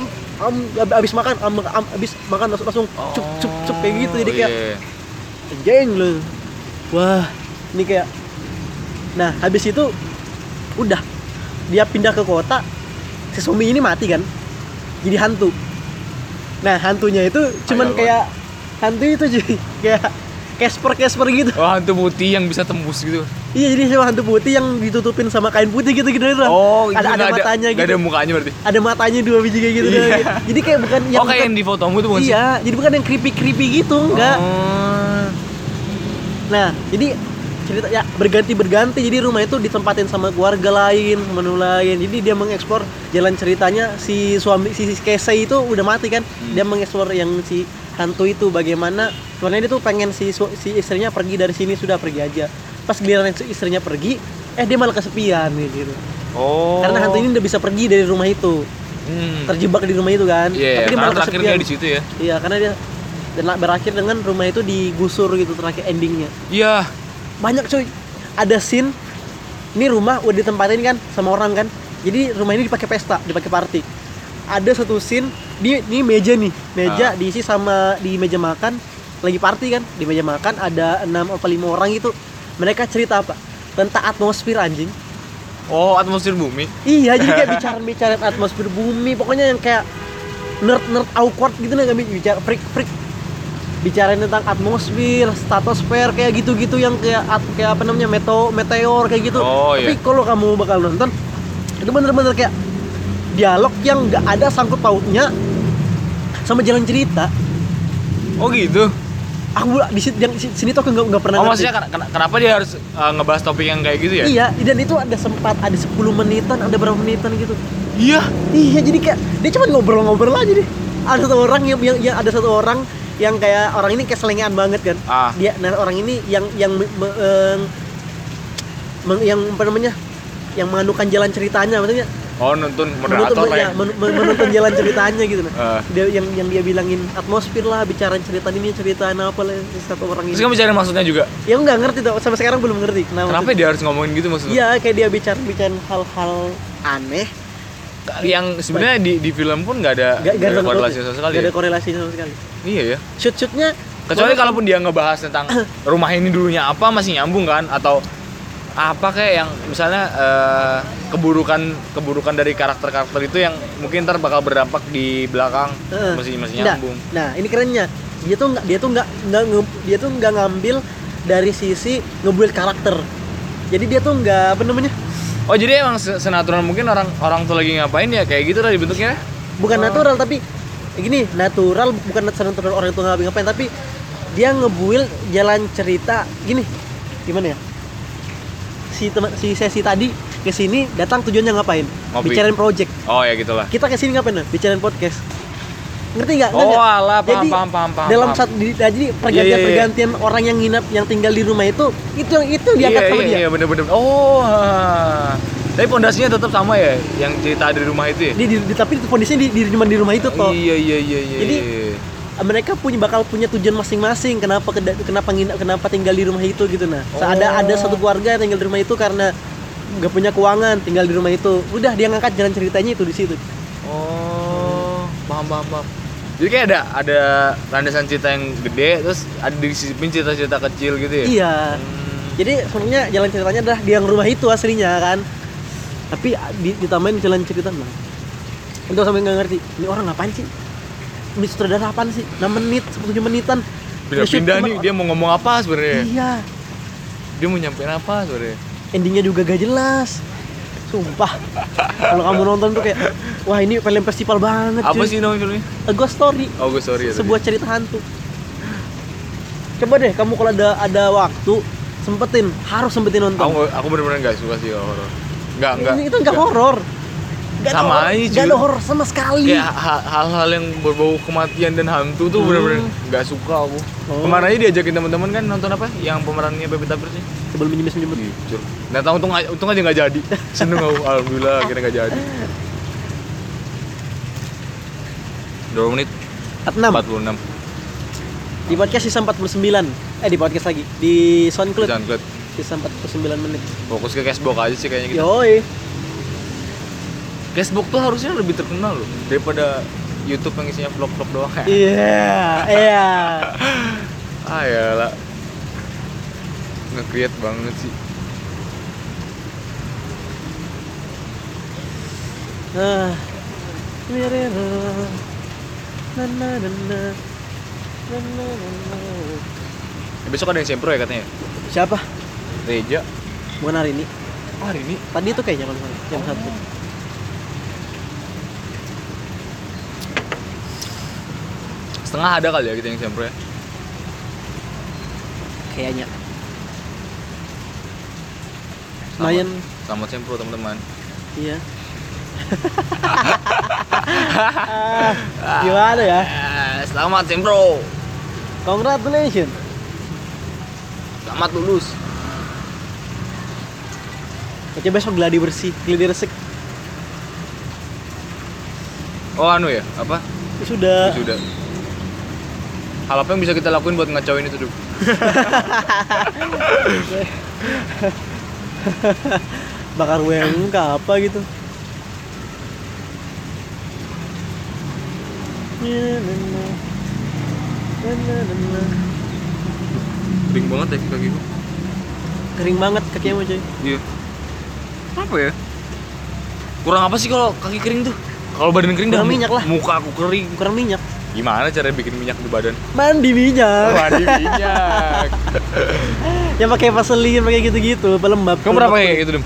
am am ab- abis makan am, am abis makan langsung, langsung cup cup cup kayak gitu jadi kayak
iya.
anjing lu. Wah, ini kayak Nah, habis itu udah dia pindah ke kota. Si suami ini mati kan. Jadi hantu. Nah, hantunya itu cuman
Ayah,
kayak hantu itu cuy, kayak Casper-Casper gitu.
Wah, hantu putih yang bisa tembus gitu.
Iya jadi sama hantu putih yang ditutupin sama kain putih gitu-gitu doang.
Oh, itu
ada, ada
nggak
matanya
nggak
gitu.
ada mukanya berarti.
Ada matanya dua biji kayak gitu
Iya.
doang. Jadi kayak bukan yang
oh, kayak
bukan-
yang di fotomu tuh bukan sih?
Iya, jadi bukan yang creepy-creepy gitu, enggak.
Oh.
Nah, jadi cerita ya berganti-berganti jadi rumah itu ditempatin sama keluarga lain, menu lain. Jadi dia mengeksplor jalan ceritanya si suami si, si Kese itu udah mati kan.
Hmm.
Dia mengeksplor yang si hantu itu bagaimana sebenarnya dia tuh pengen si su- si istrinya pergi dari sini sudah pergi aja. Pas giliran si istrinya pergi, eh dia malah kesepian gitu.
Oh.
Karena hantu ini udah bisa pergi dari rumah itu,
Hmm.
terjebak di rumah itu kan.
Iya,
Tapi dia
karena
malah
terakhir
kesepian.
dia di situ ya.
Iya, karena dia dan berakhir dengan rumah itu digusur gitu terakhir endingnya
Iya.
banyak cuy ada scene ini rumah udah ditempatin kan sama orang kan jadi rumah ini dipakai pesta dipakai party ada satu scene di ini meja nih meja
Ah.
diisi sama di meja makan lagi party kan di meja makan ada enam atau lima orang itu mereka cerita apa tentang atmosfer anjing
Oh, atmosfer bumi.
iya jadi kayak bicara bicara atmosfer bumi pokoknya yang kayak nerd nerd awkward gitu nih kami bicara freak freak bicarain tentang atmosfer, stratosfer kayak gitu-gitu yang kayak at- kayak apa namanya meto, meteor kayak gitu.
Oh, iya.
Tapi kalau kamu bakal nonton itu bener-bener kayak dialog yang nggak ada sangkut pautnya sama jalan cerita.
Oh, gitu.
Aku di situ yang di sini tuh aku nggak nggak pernah.
Oh
ngerti.
maksudnya ken- ken- kenapa dia harus uh, ngebahas topik yang kayak gitu ya?
Iya, dan itu ada sempat ada 10 menitan, ada berapa menitan gitu.
Iya.
Iya, jadi kayak dia cuma ngobrol-ngobrol aja deh. Ada satu orang yang, yang, yang- ada satu orang yang kayak orang ini kayak selengean banget kan.
Ah.
Dia nah orang ini yang yang me- me- eng, meng- yang apa namanya? yang menganukan jalan ceritanya maksudnya
Oh nonton
menuntun,
moderator lah ya.
ya, men- men- menuntun jalan ceritanya gitu nah.
Ah.
Dia yang yang dia bilangin atmosfer lah, bicara cerita ini, cerita nah, apa lah satu orang
Terus
ini.
kamu cari maksudnya juga.
Ya aku nggak ngerti tuh, sampai sekarang belum ngerti kenapa.
Kenapa dia harus ngomongin gitu maksudnya?
Iya, kayak dia bicara bicara hal-hal aneh
Yang sebenarnya di, di film pun nggak ada
Gak,
nggak ada korelasi sama sekali.
Gak ada
ya?
korelasinya sama sekali.
Iya ya.
Shoot-shootnya
Kecuali kalaupun dia ngebahas tentang rumah ini dulunya apa masih nyambung kan atau apa kayak yang misalnya eh, keburukan keburukan dari karakter-karakter itu yang mungkin ntar bakal berdampak di belakang
Heeh.
masih masih
Nah,
nyambung.
Nah, ini kerennya. Dia tuh nggak dia tuh nggak nggak nge- dia tuh nggak ngambil dari sisi ngebuild karakter. Jadi dia tuh nggak apa namanya?
Oh jadi emang se- senatural mungkin orang orang tuh lagi ngapain ya kayak gitu tadi bentuknya? Oh.
bukan natural tapi gini natural bukan natural orang itu nggak ngapain tapi dia ngebuil jalan cerita gini gimana ya si teman si sesi tadi ke sini datang tujuannya ngapain
Ngopi.
bicarain project
Oh ya gitulah.
kita ke sini ngapain nah? bicarain podcast ngerti nggak Ngerti
Oh
nggak?
alah paham
jadi
paham paham paham.
dalam
paham. Iya,
satu di- nah, jadi pergantian pergantian orang yang nginap yang tinggal di rumah itu itu yang itu yang diangkat
iya,
sama
iya,
dia
Iya bener bener. Oh. ah. Tapi pondasinya tetap sama ya yang cerita di rumah itu ya.
Dia di- di- tapi kondisinya di, di cuma di rumah itu toh
Iya iya iya iya.
Jadi-
iya.
mereka punya bakal punya tujuan masing-masing kenapa keda- kenapa nginap, kenapa tinggal di rumah itu gitu nah Se- ada
Oh.
ada satu keluarga yang tinggal di rumah itu karena nggak punya keuangan tinggal di rumah itu udah dia ngangkat jalan ceritanya itu di situ
Oh, paham paham paham. Jadi kayak ada ada landasan cerita yang gede terus ada disisipin cerita-cerita kecil gitu ya.
iya
Hmm.
jadi sebenarnya jalan ceritanya adalah dia yang rumah itu aslinya kan tapi a- di, ditambahin jalan cerita nah itu sampai nggak ngerti ini orang ngapain sih ini sutradara apaan sih 6 menit 10 menitan
Pindah-pindah nih dia mau ngomong apa sebenarnya?
iya
Dia mau nyampein apa sebenarnya?
endingnya juga gak jelas sumpah kalau kamu nonton tuh kayak wah ini film festival banget
Apa
cuy.
sih nama filmnya?
A Ghost Story
Oh, gue sorry ya. tadi.
sebuah cerita hantu coba deh kamu kalau ada ada waktu sempetin harus sempetin
aku
nonton
nggak- aku bener-bener gak suka sih kalau horor. Enggak, enggak.
Ini- itu nggak horor Nggak ada
Sama
horor-
aja, Iya.
nggak
cuy.
ada horor sama sekali
Kayak ha- hal-hal yang berbau kematian dan hantu tuh
Hmm.
bener-bener nggak suka aku.
Oh.
Kemarin aja diajakin teman-teman kan nonton apa? Yang pemerannya Pevita Pierce sih.
sebelum menyemis menyemis
Jujur. Nah, tahu untung aja, untung aja nggak jadi. Seneng aku, alhamdulillah akhirnya nggak jadi. 2 menit
enam
46
di podcast sisa 49 eh di podcast lagi di SoundCloud
Jangan klik
sisa 49 menit
Fokus ke cashbox aja sih kayaknya kita
yoi
Cashbox tuh harusnya lebih terkenal loh Daripada Youtube yang isinya vlog-vlog doang ya
iya iya
Ah ya lah Nge-create banget sih
Ah. Mirero. Na, na, na, na. Na, na, na, na.
Eh, Besok ada yang sempro ya katanya
Siapa?
Reja
Bukan hari ini.
Oh hari ini
Tadi itu kayaknya kalau nggak salah, jam
Oh.
satu.
Setengah ada kali ya kita yang sempro ya
Kayaknya.
Selamat-
Lumayan.
Selamat sempro teman-teman
Iya. Ah, Gimana ya?
Eh, Selamat sempro
Congratulations.
Selamat lulus
Oke besok gladi bersih, gladi resik.
Oh anu ya apa?
Ya Sudah.
Ya Sudah Hal apa yang bisa kita lakuin buat ngacauin itu Duk?
Bakar weng ke apa gitu. Na, na, na. Na, na, na, na.
Kering banget ya kaki gua
Kering banget kakinya cuy.
Iya. Apa ya? Kurang apa sih kalau kaki kering tuh? Kalau badan kering dah
Kurang minyak lah.
Muka aku kering.
Kurang minyak.
Gimana cara bikin minyak di badan?
Mandi minyak.
Mandi minyak.
Yang pakai vaselin, pakai gitu-gitu, pelembab.
Kamu pernah pakai kayak gitu, Dem?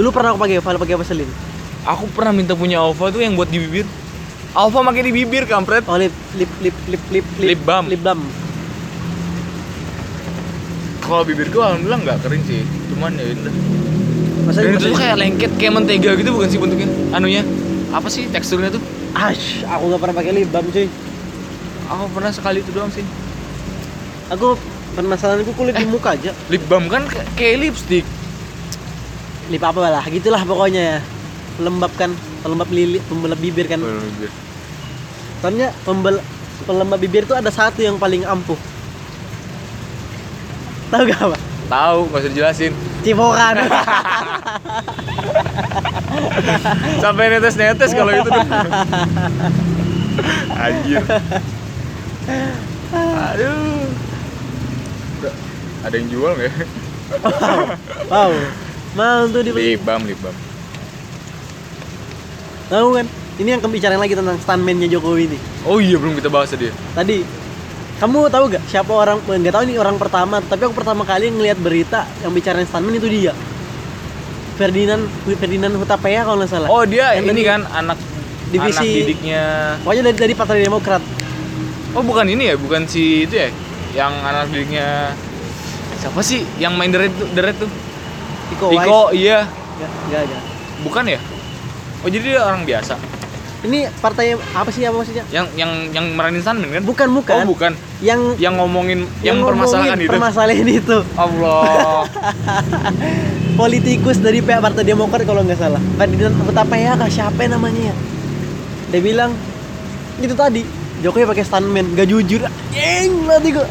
Dulu pernah aku pakai, pakai pakai vaselin.
Aku pernah minta punya Alfa tuh yang buat di bibir. Alfa pakai di bibir, kampret.
Oh, lip lip lip lip lip
Lip balm.
Lip balm.
Kalau bibirku alhamdulillah nggak kering sih. Cuman ya itu. Dan
Vaselin.
itu tuh
vaselin.
kayak lengket, kayak mentega gitu bukan sih bentuknya? Anunya? Apa sih teksturnya tuh?
Ash, aku gak pernah pakai lip balm, cuy.
Aku pernah sekali itu doang sih.
Aku permasalahanku kulit di muka aja.
Lip balm kan kayak- kayak lipstick.
Lip apa lah, gitulah pokoknya ya. Pelembabkan, pelembab lili, pelembab bibir kan.
Baru bibir.
Soalnya pembel, pelembab bibir itu ada satu yang paling ampuh. Tahu gak apa?
Tahu, nggak usah dijelasin.
Cipokan.
sampai netes netes kalau gitu. itu tuh. anjir aduh Udah, ada yang jual nggak ya?
wow. Mau tuh di
libam libam
Tahu kan? Ini yang kami bicarain lagi tentang stuntman-nya Jokowi ini.
oh iya belum kita bahas tadi
Tadi kamu tahu gak siapa orang eh, nggak tahu ini orang pertama tapi aku pertama kali ngelihat berita yang bicarain stuntman itu dia Ferdinand Ferdinand Hutapea kalau nggak salah
Oh dia
Yang
ini
tadi
kan anak
divisi-
anak didiknya.
pokoknya dari, dari Partai Demokrat
Oh bukan ini ya, bukan si itu ya, yang anak didiknya siapa sih yang main deret tuh, The Red tuh?
Iko Uwais.
Iko, iya,
Nggak, nggak, nggak.
bukan ya? Oh jadi dia orang biasa,
ini partai apa sih apa maksudnya
yang yang yang meranin Sunman kan?
bukan bukan
Oh bukan,
yang
yang ngomongin yang, mempermasalahkan
ngomongin
itu.
permasalahan itu
Allah,
politikus dari pihak Partai Demokrat kalau nggak salah Ferdinand Hutapea kah siapa namanya ya dia bilang itu tadi Jokowi pakai stuntman gak jujur Eng, mati gua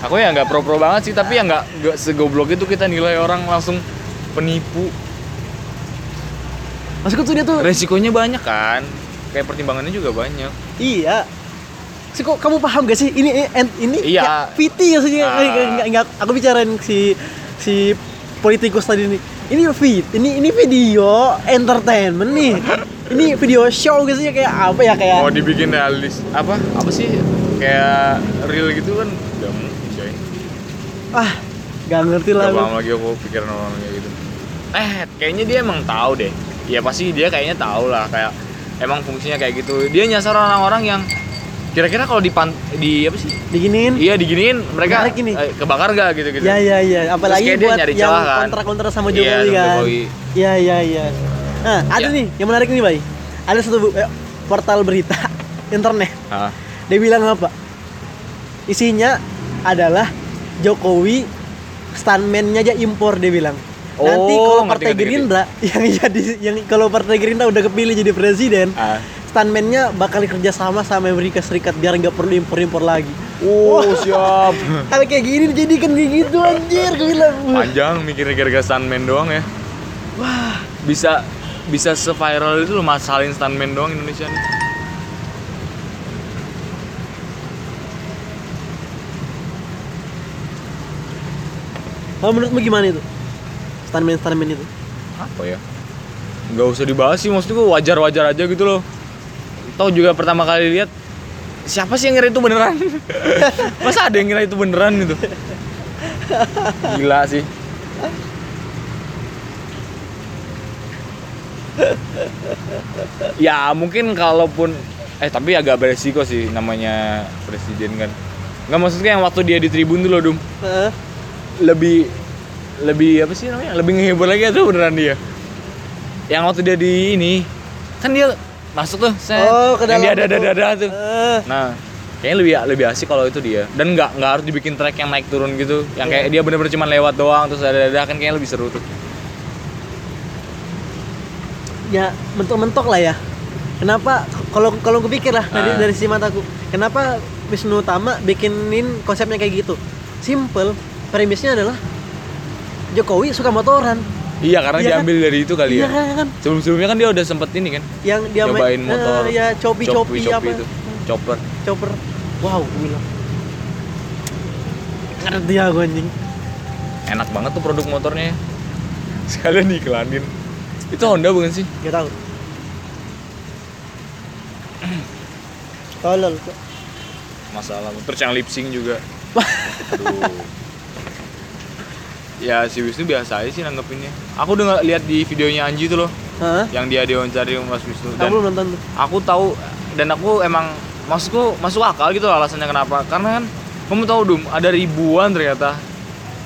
aku ya nggak pro-pro banget sih, tapi ya nggak nggak segoblok itu kita nilai orang langsung penipu.
maksudku tuh dia tuh
Resikonya banyak kan, kayak pertimbangannya juga banyak.
Iya. Sih kok kamu paham gak sih ini ini, ini
Iya.
kayak VT ya sih
Ah.
Nggak- nggak- aku bicarain si si politikus tadi nih. Ini fit, ini ini video entertainment nih. ini video show gitu sih kayak apa ya kayak
mau dibikin realis apa apa sih kayak real gitu kan gak mungkin coy
ah gak ngerti lah.
gak
aku.
paham lagi aku pikiran orang kayak gitu eh kayaknya dia emang tahu deh ya pasti dia kayaknya tahu lah kayak emang fungsinya kayak gitu dia nyasar orang-orang yang kira-kira kalau di di apa sih
Diginiin.
iya diginiin mereka
Menarik ini.
eh, kebakar gak gitu gitu
Ya ya ya, apalagi
kayak dia
buat
nyari
yang
celah, kan?
kontra-kontra sama
Iya,
Jokowi
sama
kan.
Jokowi.
Iya iya iya. Nah, ada
Ya.
nih yang menarik nih, Bay. Ada satu bu- eh, portal berita internet
Hah?
Dia bilang apa? Isinya adalah Jokowi stuntman-nya aja impor dia bilang. Nanti
Oh,
kalau Partai
ngerti, ngerti, ngerti.
Gerindra yang jadi yang kalau Partai Gerindra udah kepilih jadi presiden,
Ah.
stuntman-nya bakal kerja sama sama Amerika Serikat biar nggak perlu impor-impor lagi.
Oh, siap.
Kalau kayak gini jadi kan kayak gitu anjir gue bilang. Wah,
Panjang mikirnya gara-gara stuntman doang ya.
Wah,
Bisa bisa se-viral itu loh masalin stuntman doang Indonesia nih.
kalau menurutmu gimana itu? Stuntman-stuntman itu.
apa ya nggak usah dibahas sih maksud gue wajar wajar aja gitu loh tau juga pertama kali lihat siapa sih yang ngira itu beneran masa ada yang ngira itu beneran gitu gila sih ya mungkin kalaupun eh tapi agak beresiko sih namanya presiden kan nggak maksudnya yang waktu dia di tribun dulu dum
Heeh.
lebih lebih apa sih namanya lebih ngehibur lagi atau beneran dia yang waktu dia di ini kan dia masuk tuh set.
Oh, ke
yang
dalam
dia ada
itu.
ada ada tuh
Eh,
nah kayaknya lebih lebih asik kalau itu dia dan nggak nggak harus dibikin track yang naik turun gitu yang kayak dia bener-bener cuma lewat doang terus ada ada kan kayaknya lebih seru tuh
ya mentok-mentok lah ya kenapa kalau kalau gue pikir lah dari
Ah.
dari sisi mataku kenapa Wisnu Tama bikinin konsepnya kayak gitu simple premisnya adalah Jokowi suka motoran
iya karena
Iya kan?
diambil dari itu kali
iya
ya
kan, kan
sebelum-sebelumnya kan dia udah sempet ini kan
yang dia main-
cobain motor
eh, ya copi copi,
copi
apa
itu chopper
chopper wow gue bilang ngerti ya gue anjing
enak banget tuh produk motornya sekalian diiklanin itu Honda bukan sih
gak tahu tolol
masalah terus yang lip sync juga aduh ya si Wisnu biasa aja sih nanggepinnya aku udah nggak lihat di videonya Anji itu loh
Hah?
yang dia diwawancari sama Mas
Aku
Wisnu dan
belum nonton tuh.
aku tahu dan aku emang maksudku masuk akal gitu loh alasannya kenapa karena kan kamu tahu dum ada ribuan ternyata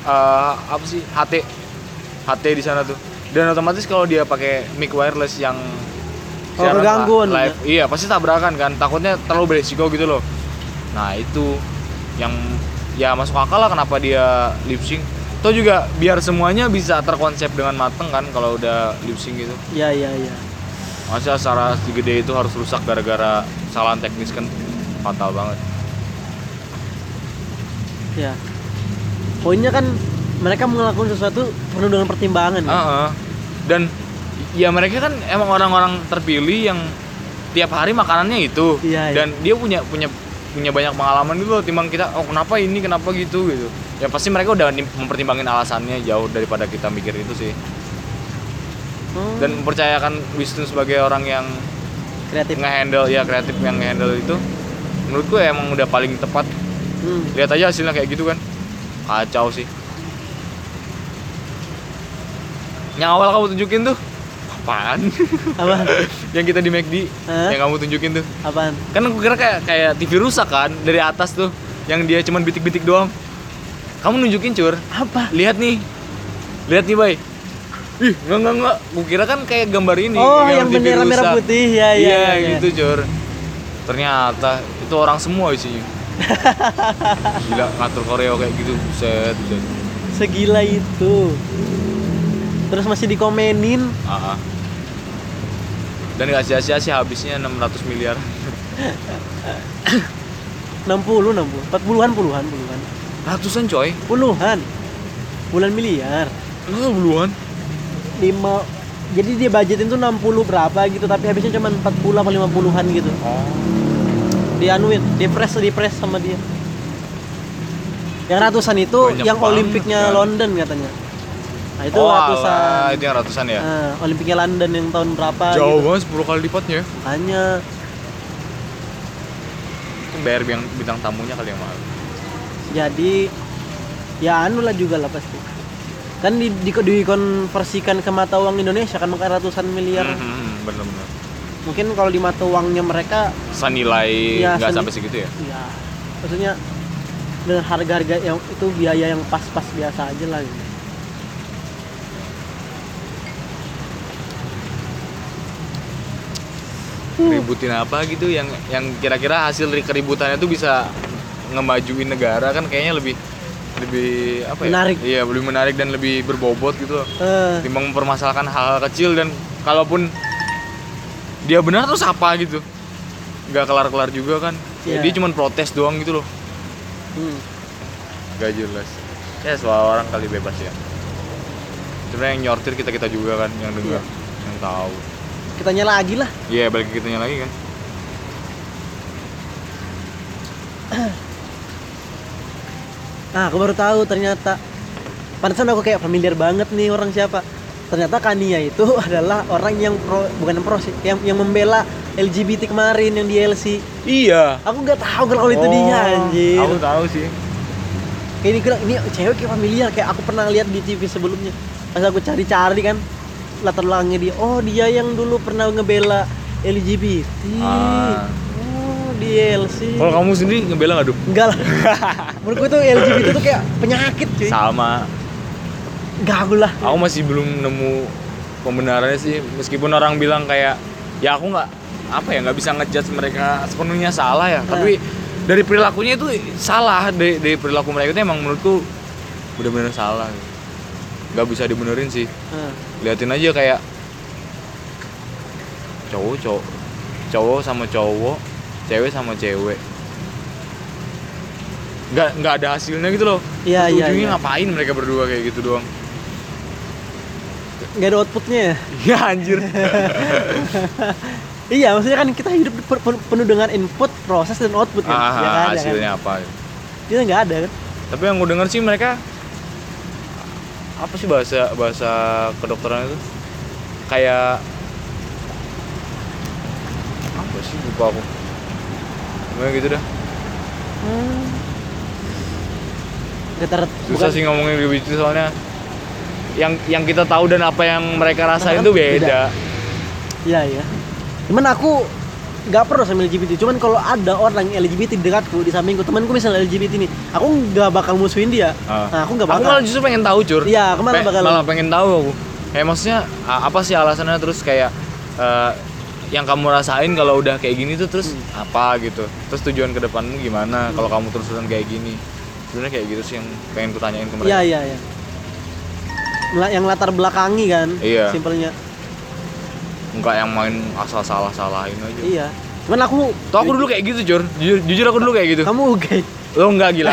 eh, apa sih HT HT di sana tuh dan otomatis kalau dia pakai mic wireless yang
Kalau
siaran
kegangguan,
li- live iya pasti tabrakan kan takutnya terlalu beresiko gitu loh nah itu yang ya masuk akal lah kenapa dia lip sync atau juga biar semuanya bisa terkonsep dengan mateng kan kalau udah lip sync gitu
Ya ya ya.
masa secara segede itu harus rusak gara-gara kesalahan teknis kan fatal banget
Ya. Poinnya kan mereka melakukan sesuatu penuh dengan pertimbangan. ya.
Heeh. dan ya mereka kan emang orang-orang terpilih yang tiap hari makanannya itu
Iya, iya.
dan dia punya punya punya banyak pengalaman gitu loh timbang kita oh kenapa ini kenapa gitu gitu ya pasti mereka udah nim- mempertimbangin alasannya jauh daripada kita mikir itu sih
Hmm,
dan mempercayakan Wisnu sebagai orang yang
kreatif.
ngehandle ya kreatif yang ngehandle itu menurutku emang udah paling tepat
Hmm.
lihat aja hasilnya kayak gitu kan kacau sih yang awal kamu tunjukin tuh apaan
Apa?
yang kita di McD
Hah?
yang kamu tunjukin tuh
Apaan?
kan aku kira kayak kayak TV rusak kan dari atas tuh yang dia cuman bitik-bitik doang kamu nunjukin cur
Apa?
lihat nih lihat nih bay ih enggak enggak enggak Gua kira kan kayak gambar ini
Oh,
gambar
yang
TV
bendera merah
rusak.
putih, ya, ya,
iya
ya, ya.
gitu cur ternyata itu orang semua isinya gila ngatur koreo kayak gitu set set
Segila itu. Terus masih dikomenin.
ah ah. dan nggak sia-sia sih habisnya 600 miliar
60, 60. 40-an, puluhan, puluhan.
ratusan coy Nah,
Puluhan. Bulan miliar.
Masa puluhan
5 jadi dia budgetin tuh 60 berapa gitu tapi habisnya cuma 40 atau 50-an gitu.
oh
Dianuin, dipres dipres sama dia. Yang ratusan itu
Banyak
yang
banget,
Olimpiknya
kan?
London katanya. Nah, itu
oh,
ratusan.
alah, itu yang ratusan ya
Nah, Olimpiknya London yang tahun berapa gitu.
jauh banget 10 kali lipatnya ya
Makanya
Mungkin bayar bintang, bintang tamunya kali yang mahal
jadi ya anu lah juga lah pasti kan di, di, dikonversikan ke mata uang Indonesia kan makanya ratusan miliar
Mhm, bener-bener
mungkin kalau di mata uangnya mereka
senilai
Iya,
nggak
seni-
sampai segitu ya
ya maksudnya dengan harga-harga yang itu biaya yang pas-pas biasa aja lah gitu. Hmm.
ributin apa gitu yang yang kira-kira hasil dari keributannya itu bisa ngemajuin negara kan kayaknya lebih lebih apa ya
Menarik.
iya lebih menarik dan lebih berbobot gitu loh
Eh,
timbang mempermasalahkan hal-hal kecil dan kalaupun dia benar terus apa gitu nggak kelar-kelar juga kan
Iya.
jadi cuman protes doang gitu loh
hmm.
nggak jelas ya soal orang kali bebas ya sebenarnya yang nyortir kita kita juga kan yang
Iya.
dengar yang tahu
kitanya lagi lah
Iya, balik ke kitanya lagi kan.
nah aku baru tahu ternyata pantesan aku kayak familiar banget nih orang siapa ternyata Kania itu adalah orang yang pro bukan yang pro sih yang yang membela LGBT kemarin yang di LC
Iya.
aku nggak tahu kalau Oh, itu dia anjir
Oh, Aku tahu sih.
Kayak ini gerak, ini cewek kayak familiar kayak aku pernah lihat di TV sebelumnya pas aku cari-cari kan latar belakangnya dia oh dia yang dulu pernah ngebela LGBT
Ah.
oh dia LC
Kalau kamu sendiri ngebela nggak, Dup?
enggak lah menurutku tuh LGBT tuh kayak penyakit cuy
Sama.
gaul lah
Aku masih belum nemu pembenarannya sih. Meskipun orang bilang kayak ya aku nggak apa ya nggak bisa ngejudge mereka sepenuhnya salah
Eh.
ya. Tapi dari perilakunya itu salah dari, dari perilaku mereka itu emang menurutku benar-benar salah. Nggak bisa dibenerin sih.
Nah,
liatin aja kayak cowok cowok cowok sama cowok cewek sama cewek nggak nggak ada hasilnya gitu loh
Iya,
Terus
iya,
ujungnya
iya.
ngapain mereka berdua kayak gitu doang
nggak ada outputnya ya
ya anjir
iya maksudnya kan kita hidup per- per- penuh dengan input proses dan output kan
ah,
ya kan, ya kan?
hasilnya apa
kita nggak ada kan
tapi yang gue denger sih mereka apa sih bahasa bahasa kedokteran itu kayak apa sih lupa aku Pokoknya gitu dah
Hmm. nggak ter
susah sih ngomongin LGBT soalnya yang yang kita tahu dan apa yang mereka rasain
Kan
itu
beda.
beda.
Iya ya. Cuman aku nggak perlu sama LGBT. Cuman kalau ada orang LGBT di dekatku di sampingku, temanku misalnya LGBT nih, aku nggak bakal musuhin dia.
Ah.
Nah, aku nggak
Aku
bakal.
malah justru pengen tahu, Cur.
Iya, aku malah bakal.
malah pengen tahu aku. Kayak maksudnya a- apa sih alasannya terus kayak eh, yang kamu rasain kalau udah kayak gini tuh terus
Hmm.
apa gitu. Terus tujuan ke depanmu gimana kalau kamu terus-terusan kayak gini. Sebenarnya kayak gitu sih yang pengen kutanyain ke mereka.
Iya iya iya. Mela- Yang latar belakangi kan,
Iya.
simpelnya.
Enggak yang main asal salah-salahin aja.
Iya. Cuman aku,
Tuh aku dulu kayak gitu, Cur. Jujur, jujur aku dulu kayak gitu.
kamu oke.
lo nggak gila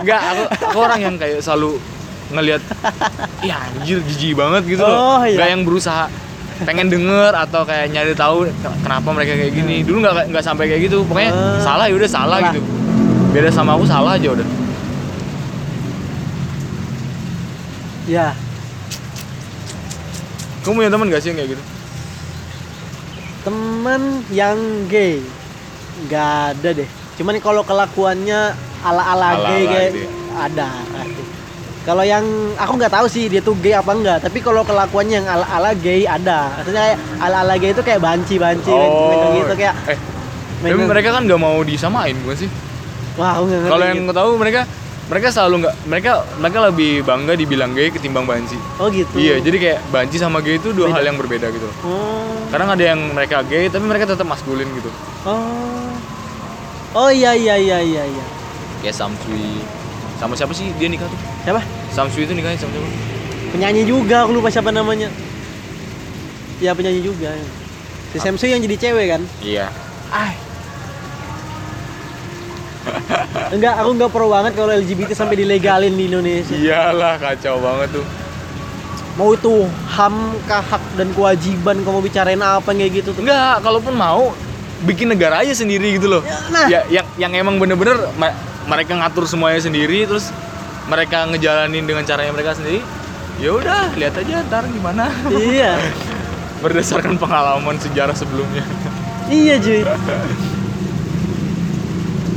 nggak aku, aku orang yang kayak selalu ngelihat ya anjir jijik banget gitu
Oh,
loh
iya.
nggak yang berusaha pengen denger atau kayak nyari tahu ke- kenapa mereka kayak gini dulu nggak nggak sampai kayak gitu pokoknya
Eh,
salah ya udah salah
Hmm. salah.
gitu beda sama aku salah aja udah
Ya.
kamu punya teman gak sih yang kayak gitu
Teman yang gay. Nggak ada deh. Cuman kalau kelakuannya ala-ala
Ala-ala
gay kayak
gitu ya.
ada. pasti. Kalau yang aku nggak tahu sih dia tuh gay apa enggak, tapi kalau kelakuannya yang ala-ala gay ada. Maksudnya kayak ala-ala gay itu kayak banci-banci gitu kayak
Oh, eh, tapi
megang-
mereka kan nggak mau disamain bukan sih?
wah aku nggak ngerti.
Kalau yang
gitu.
tahu mereka mereka selalu nggak mereka mereka lebih bangga dibilang gay ketimbang banci.
Oh gitu.
Iya, jadi kayak banci sama gay itu dua
Beda.
hal yang berbeda gitu. loh.
Oh.
Kadang ada yang mereka gay tapi mereka tetap maskulin gitu.
Oh. Oh iya iya iya iya iya.
Kayak Samsui. Sama siapa sih dia nikah tuh?
Siapa?
Samsui itu nikahnya sama siapa?
Penyanyi juga aku lupa siapa namanya. Ya penyanyi juga. Si Samsu yang jadi cewek kan?
Iya.
Enggak, aku nggak pro banget kalau LGBT sampai dilegalin di Indonesia.
Iyalah kacau banget tuh.
Mau itu ham kah hak dan kewajiban kamu bicarain apa kayak gitu tuh.
Enggak, kalaupun mau bikin negara aja sendiri gitu loh.
Nah.
Ya yang yang emang bener-bener ma- mereka ngatur semuanya sendiri terus mereka ngejalanin dengan caranya mereka sendiri. Ya udah, lihat aja ntar gimana.
iya.
Berdasarkan pengalaman sejarah sebelumnya.
Iya, cuy.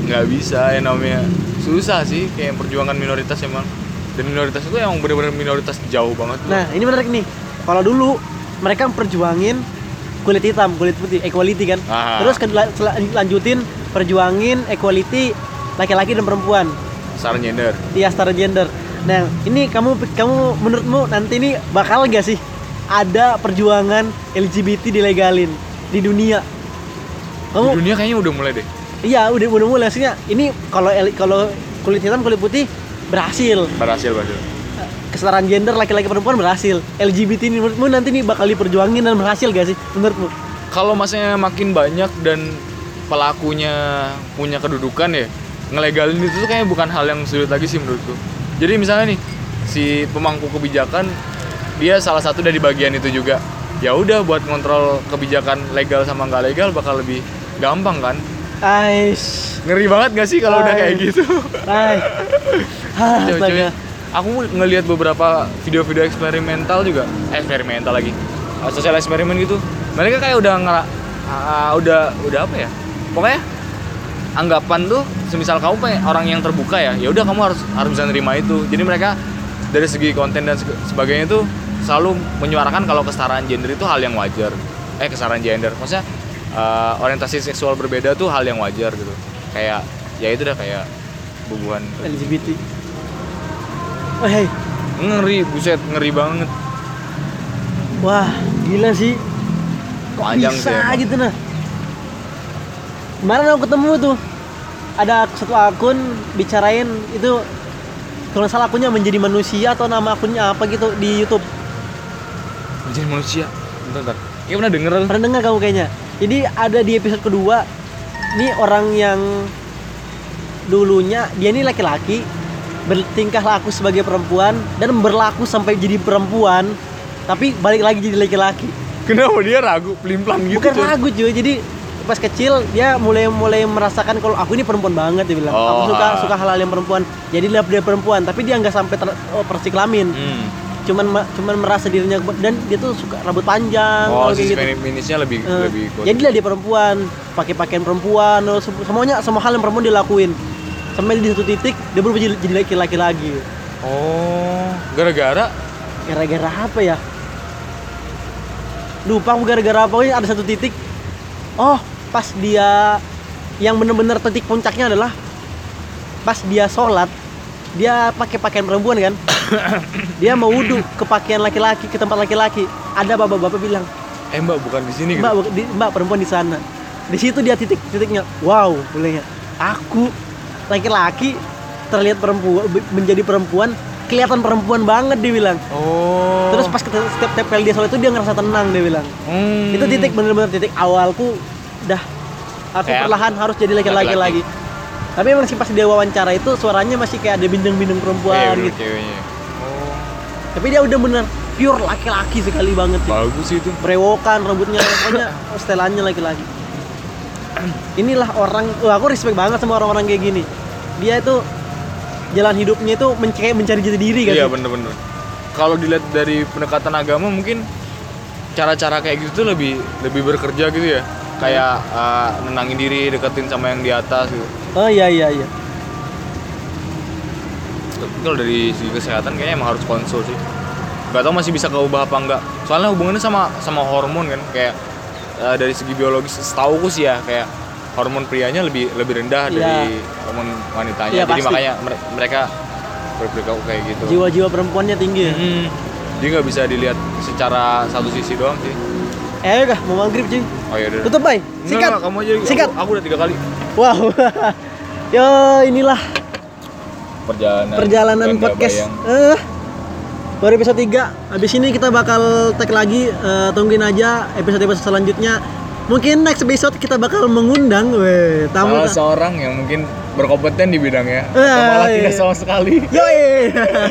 nggak bisa ya namanya susah sih kayak perjuangan minoritas emang dan minoritas itu emang bener-bener minoritas jauh banget
Nah, ini menarik nih. Kalau dulu mereka perjuangin kulit hitam, kulit putih, equality kan.
Ah.
Terus ke- la- sel- lanjutin perjuangin equality laki-laki dan perempuan.
sar nyender
Iya, setara gender. Nah, ini kamu kamu menurutmu nanti ini bakal gak sih ada perjuangan LGBT dilegalin di dunia?
di
Kamu
dunia kayaknya udah mulai deh
iya udah udah mulai maksudnya ini kalau el- kalau kulit hitam kulit putih berhasil
berhasil berhasil
kesetaraan gender laki-laki perempuan berhasil LGBT ini menurutmu nanti nih bakal diperjuangin dan berhasil gak sih menurutmu
kalau masanya makin banyak dan pelakunya punya kedudukan ya ngelegalin itu tuh kayaknya bukan hal yang sulit lagi sih menurutku jadi misalnya nih si pemangku kebijakan dia salah satu dari bagian itu juga ya udah buat ngontrol kebijakan legal sama nggak legal bakal lebih gampang kan
Ais
ngeri banget gak sih kalau udah
iya.
kayak gitu
Ais Hah,
cewek-cewek
astaga.
ya. aku ngelihat beberapa video-video eksperimental juga eh, eksperimental lagi Eh, sosial eksperimen gitu mereka kayak udah ngera ah, udah udah apa ya pokoknya anggapan tuh semisal kamu pengen orang yang terbuka ya ya udah kamu harus harus bisa nerima itu jadi mereka dari segi konten dan seg- sebagainya tuh selalu menyuarakan kalau kesetaraan gender itu hal yang wajar eh kesetaraan gender maksudnya eh, orientasi seksual berbeda tuh hal yang wajar gitu kayak ya itu udah kayak bubuhan
LGBT Oh, hey.
ngeri buset ngeri banget
Wah gila sih Kok
Panjang
bisa
sih emang.
gitu nah Kemarin aku ketemu tuh Ada satu akun bicarain itu Kalau nggak salah akunnya menjadi manusia atau nama akunnya apa gitu di Youtube
menjadi manusia bentar bentar ya pernah denger aku.
Pernah dengar kamu kayaknya. Jadi ada di episode kedua, ini orang yang dulunya dia ini laki-laki bertingkah laku sebagai perempuan dan berlaku sampai jadi perempuan, tapi balik lagi jadi laki-laki.
kenapa dia ragu pelimplan gitu
Bukan
coy?
ragu cuy. Jadi pas kecil dia mulai mulai merasakan kalau aku ini perempuan banget dia bilang.
Oh,
aku suka
ah.
suka hal-hal yang perempuan. Jadi dia dia perempuan, tapi dia nggak sampai ter, oh, persiklamin.
hmm.
Cuman ma- cuman merasa dirinya dan dia tuh suka rambut panjang Ah,
oh
kalau gitu.
sisi feminisnya lebih
Eh,
lebih kuat
jadilah dia perempuan pakai pakaian perempuan lalu sem- semuanya semua hal yang perempuan dilakuin sampai di satu titik dia berubah jadi jadi laki-laki lagi
oh gara-gara
gara-gara apa ya lupa aku gara-gara apa pokoknya ada satu titik oh pas dia yang bener-bener titik puncaknya adalah pas dia sholat dia pakai pakaian perempuan kan dia mau wudhu ke pakaian laki-laki ke tempat laki-laki ada bapak-bapak bilang
eh mbak bukan di sini
Mbak,
gitu
bukan- di- mbak perempuan di sana. Di situ dia titik titiknya. Wow, bolehnya. Aku laki-laki terlihat perempuan be- menjadi perempuan kelihatan perempuan banget dia bilang.
oh
Terus pas kete- setiap tempel dia soal itu dia ngerasa tenang dia bilang.
Hmm.
Itu titik bener-bener titik awalku dah aku
Kayak
perlahan harus jadi laki-laki
laki-laki.
lagi. Tapi emang sih pas dia wawancara itu suaranya masih kayak ada bindeng-bindeng
Iya,
perempuan
bener,
gitu.
ceweknya oh
Tapi dia udah bener pure laki-laki sekali banget. sih.
bagus sih itu
brewokan rambutnya pokoknya setelannya lagi-lagi inilah orang wah, aku respect banget sama orang-orang kayak gini dia itu jalan hidupnya itu mencari mencari jati diri kan
iya bener-bener kalau dilihat dari pendekatan agama mungkin cara-cara kayak gitu tuh lebih lebih bekerja gitu ya kayak eh, nenangin
iya,
diri deketin sama yang di atas gitu
oh iya iya iya
tuh kalau dari segi kesehatan kayaknya emang harus konsul sih nggak tahu masih bisa keubah apa enggak soalnya hubungannya sama sama hormon kan kayak eh, dari segi biologis setauku sih ya kayak hormon prianya lebih lebih rendah
Iya.
dari hormon wanitanya
Iya,
jadi
pasti.
makanya mere- mereka berperilaku kayak gitu
Jiwa-jiwa perempuannya tinggi ya.
Mm-mm. jadi nggak bisa dilihat secara satu sisi doang sih
Eh, ayo dah, mau maghrib cuy.
oh ya
Tutup, Bay. Sikat.
kamu aja
Sikat.
aku, aku udah tiga kali
Wow. Yo, inilah
perjalanan
perjalanan
yang nggak
podcast.
bayang.
Eh. Baru episode 3. Habis ini kita bakal tag lagi. Eh, tungguin aja episode-episode selanjutnya. Mungkin next episode kita bakal mengundang weh, tamu.
salah seorang yang mungkin berkompeten di bidangnya atau
Eh,
malah
iya.
tidak sama sekali
Yoi.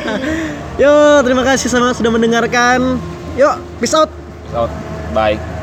Yo, terima kasih sama sudah mendengarkan. Yuk, peace out.
Out. bye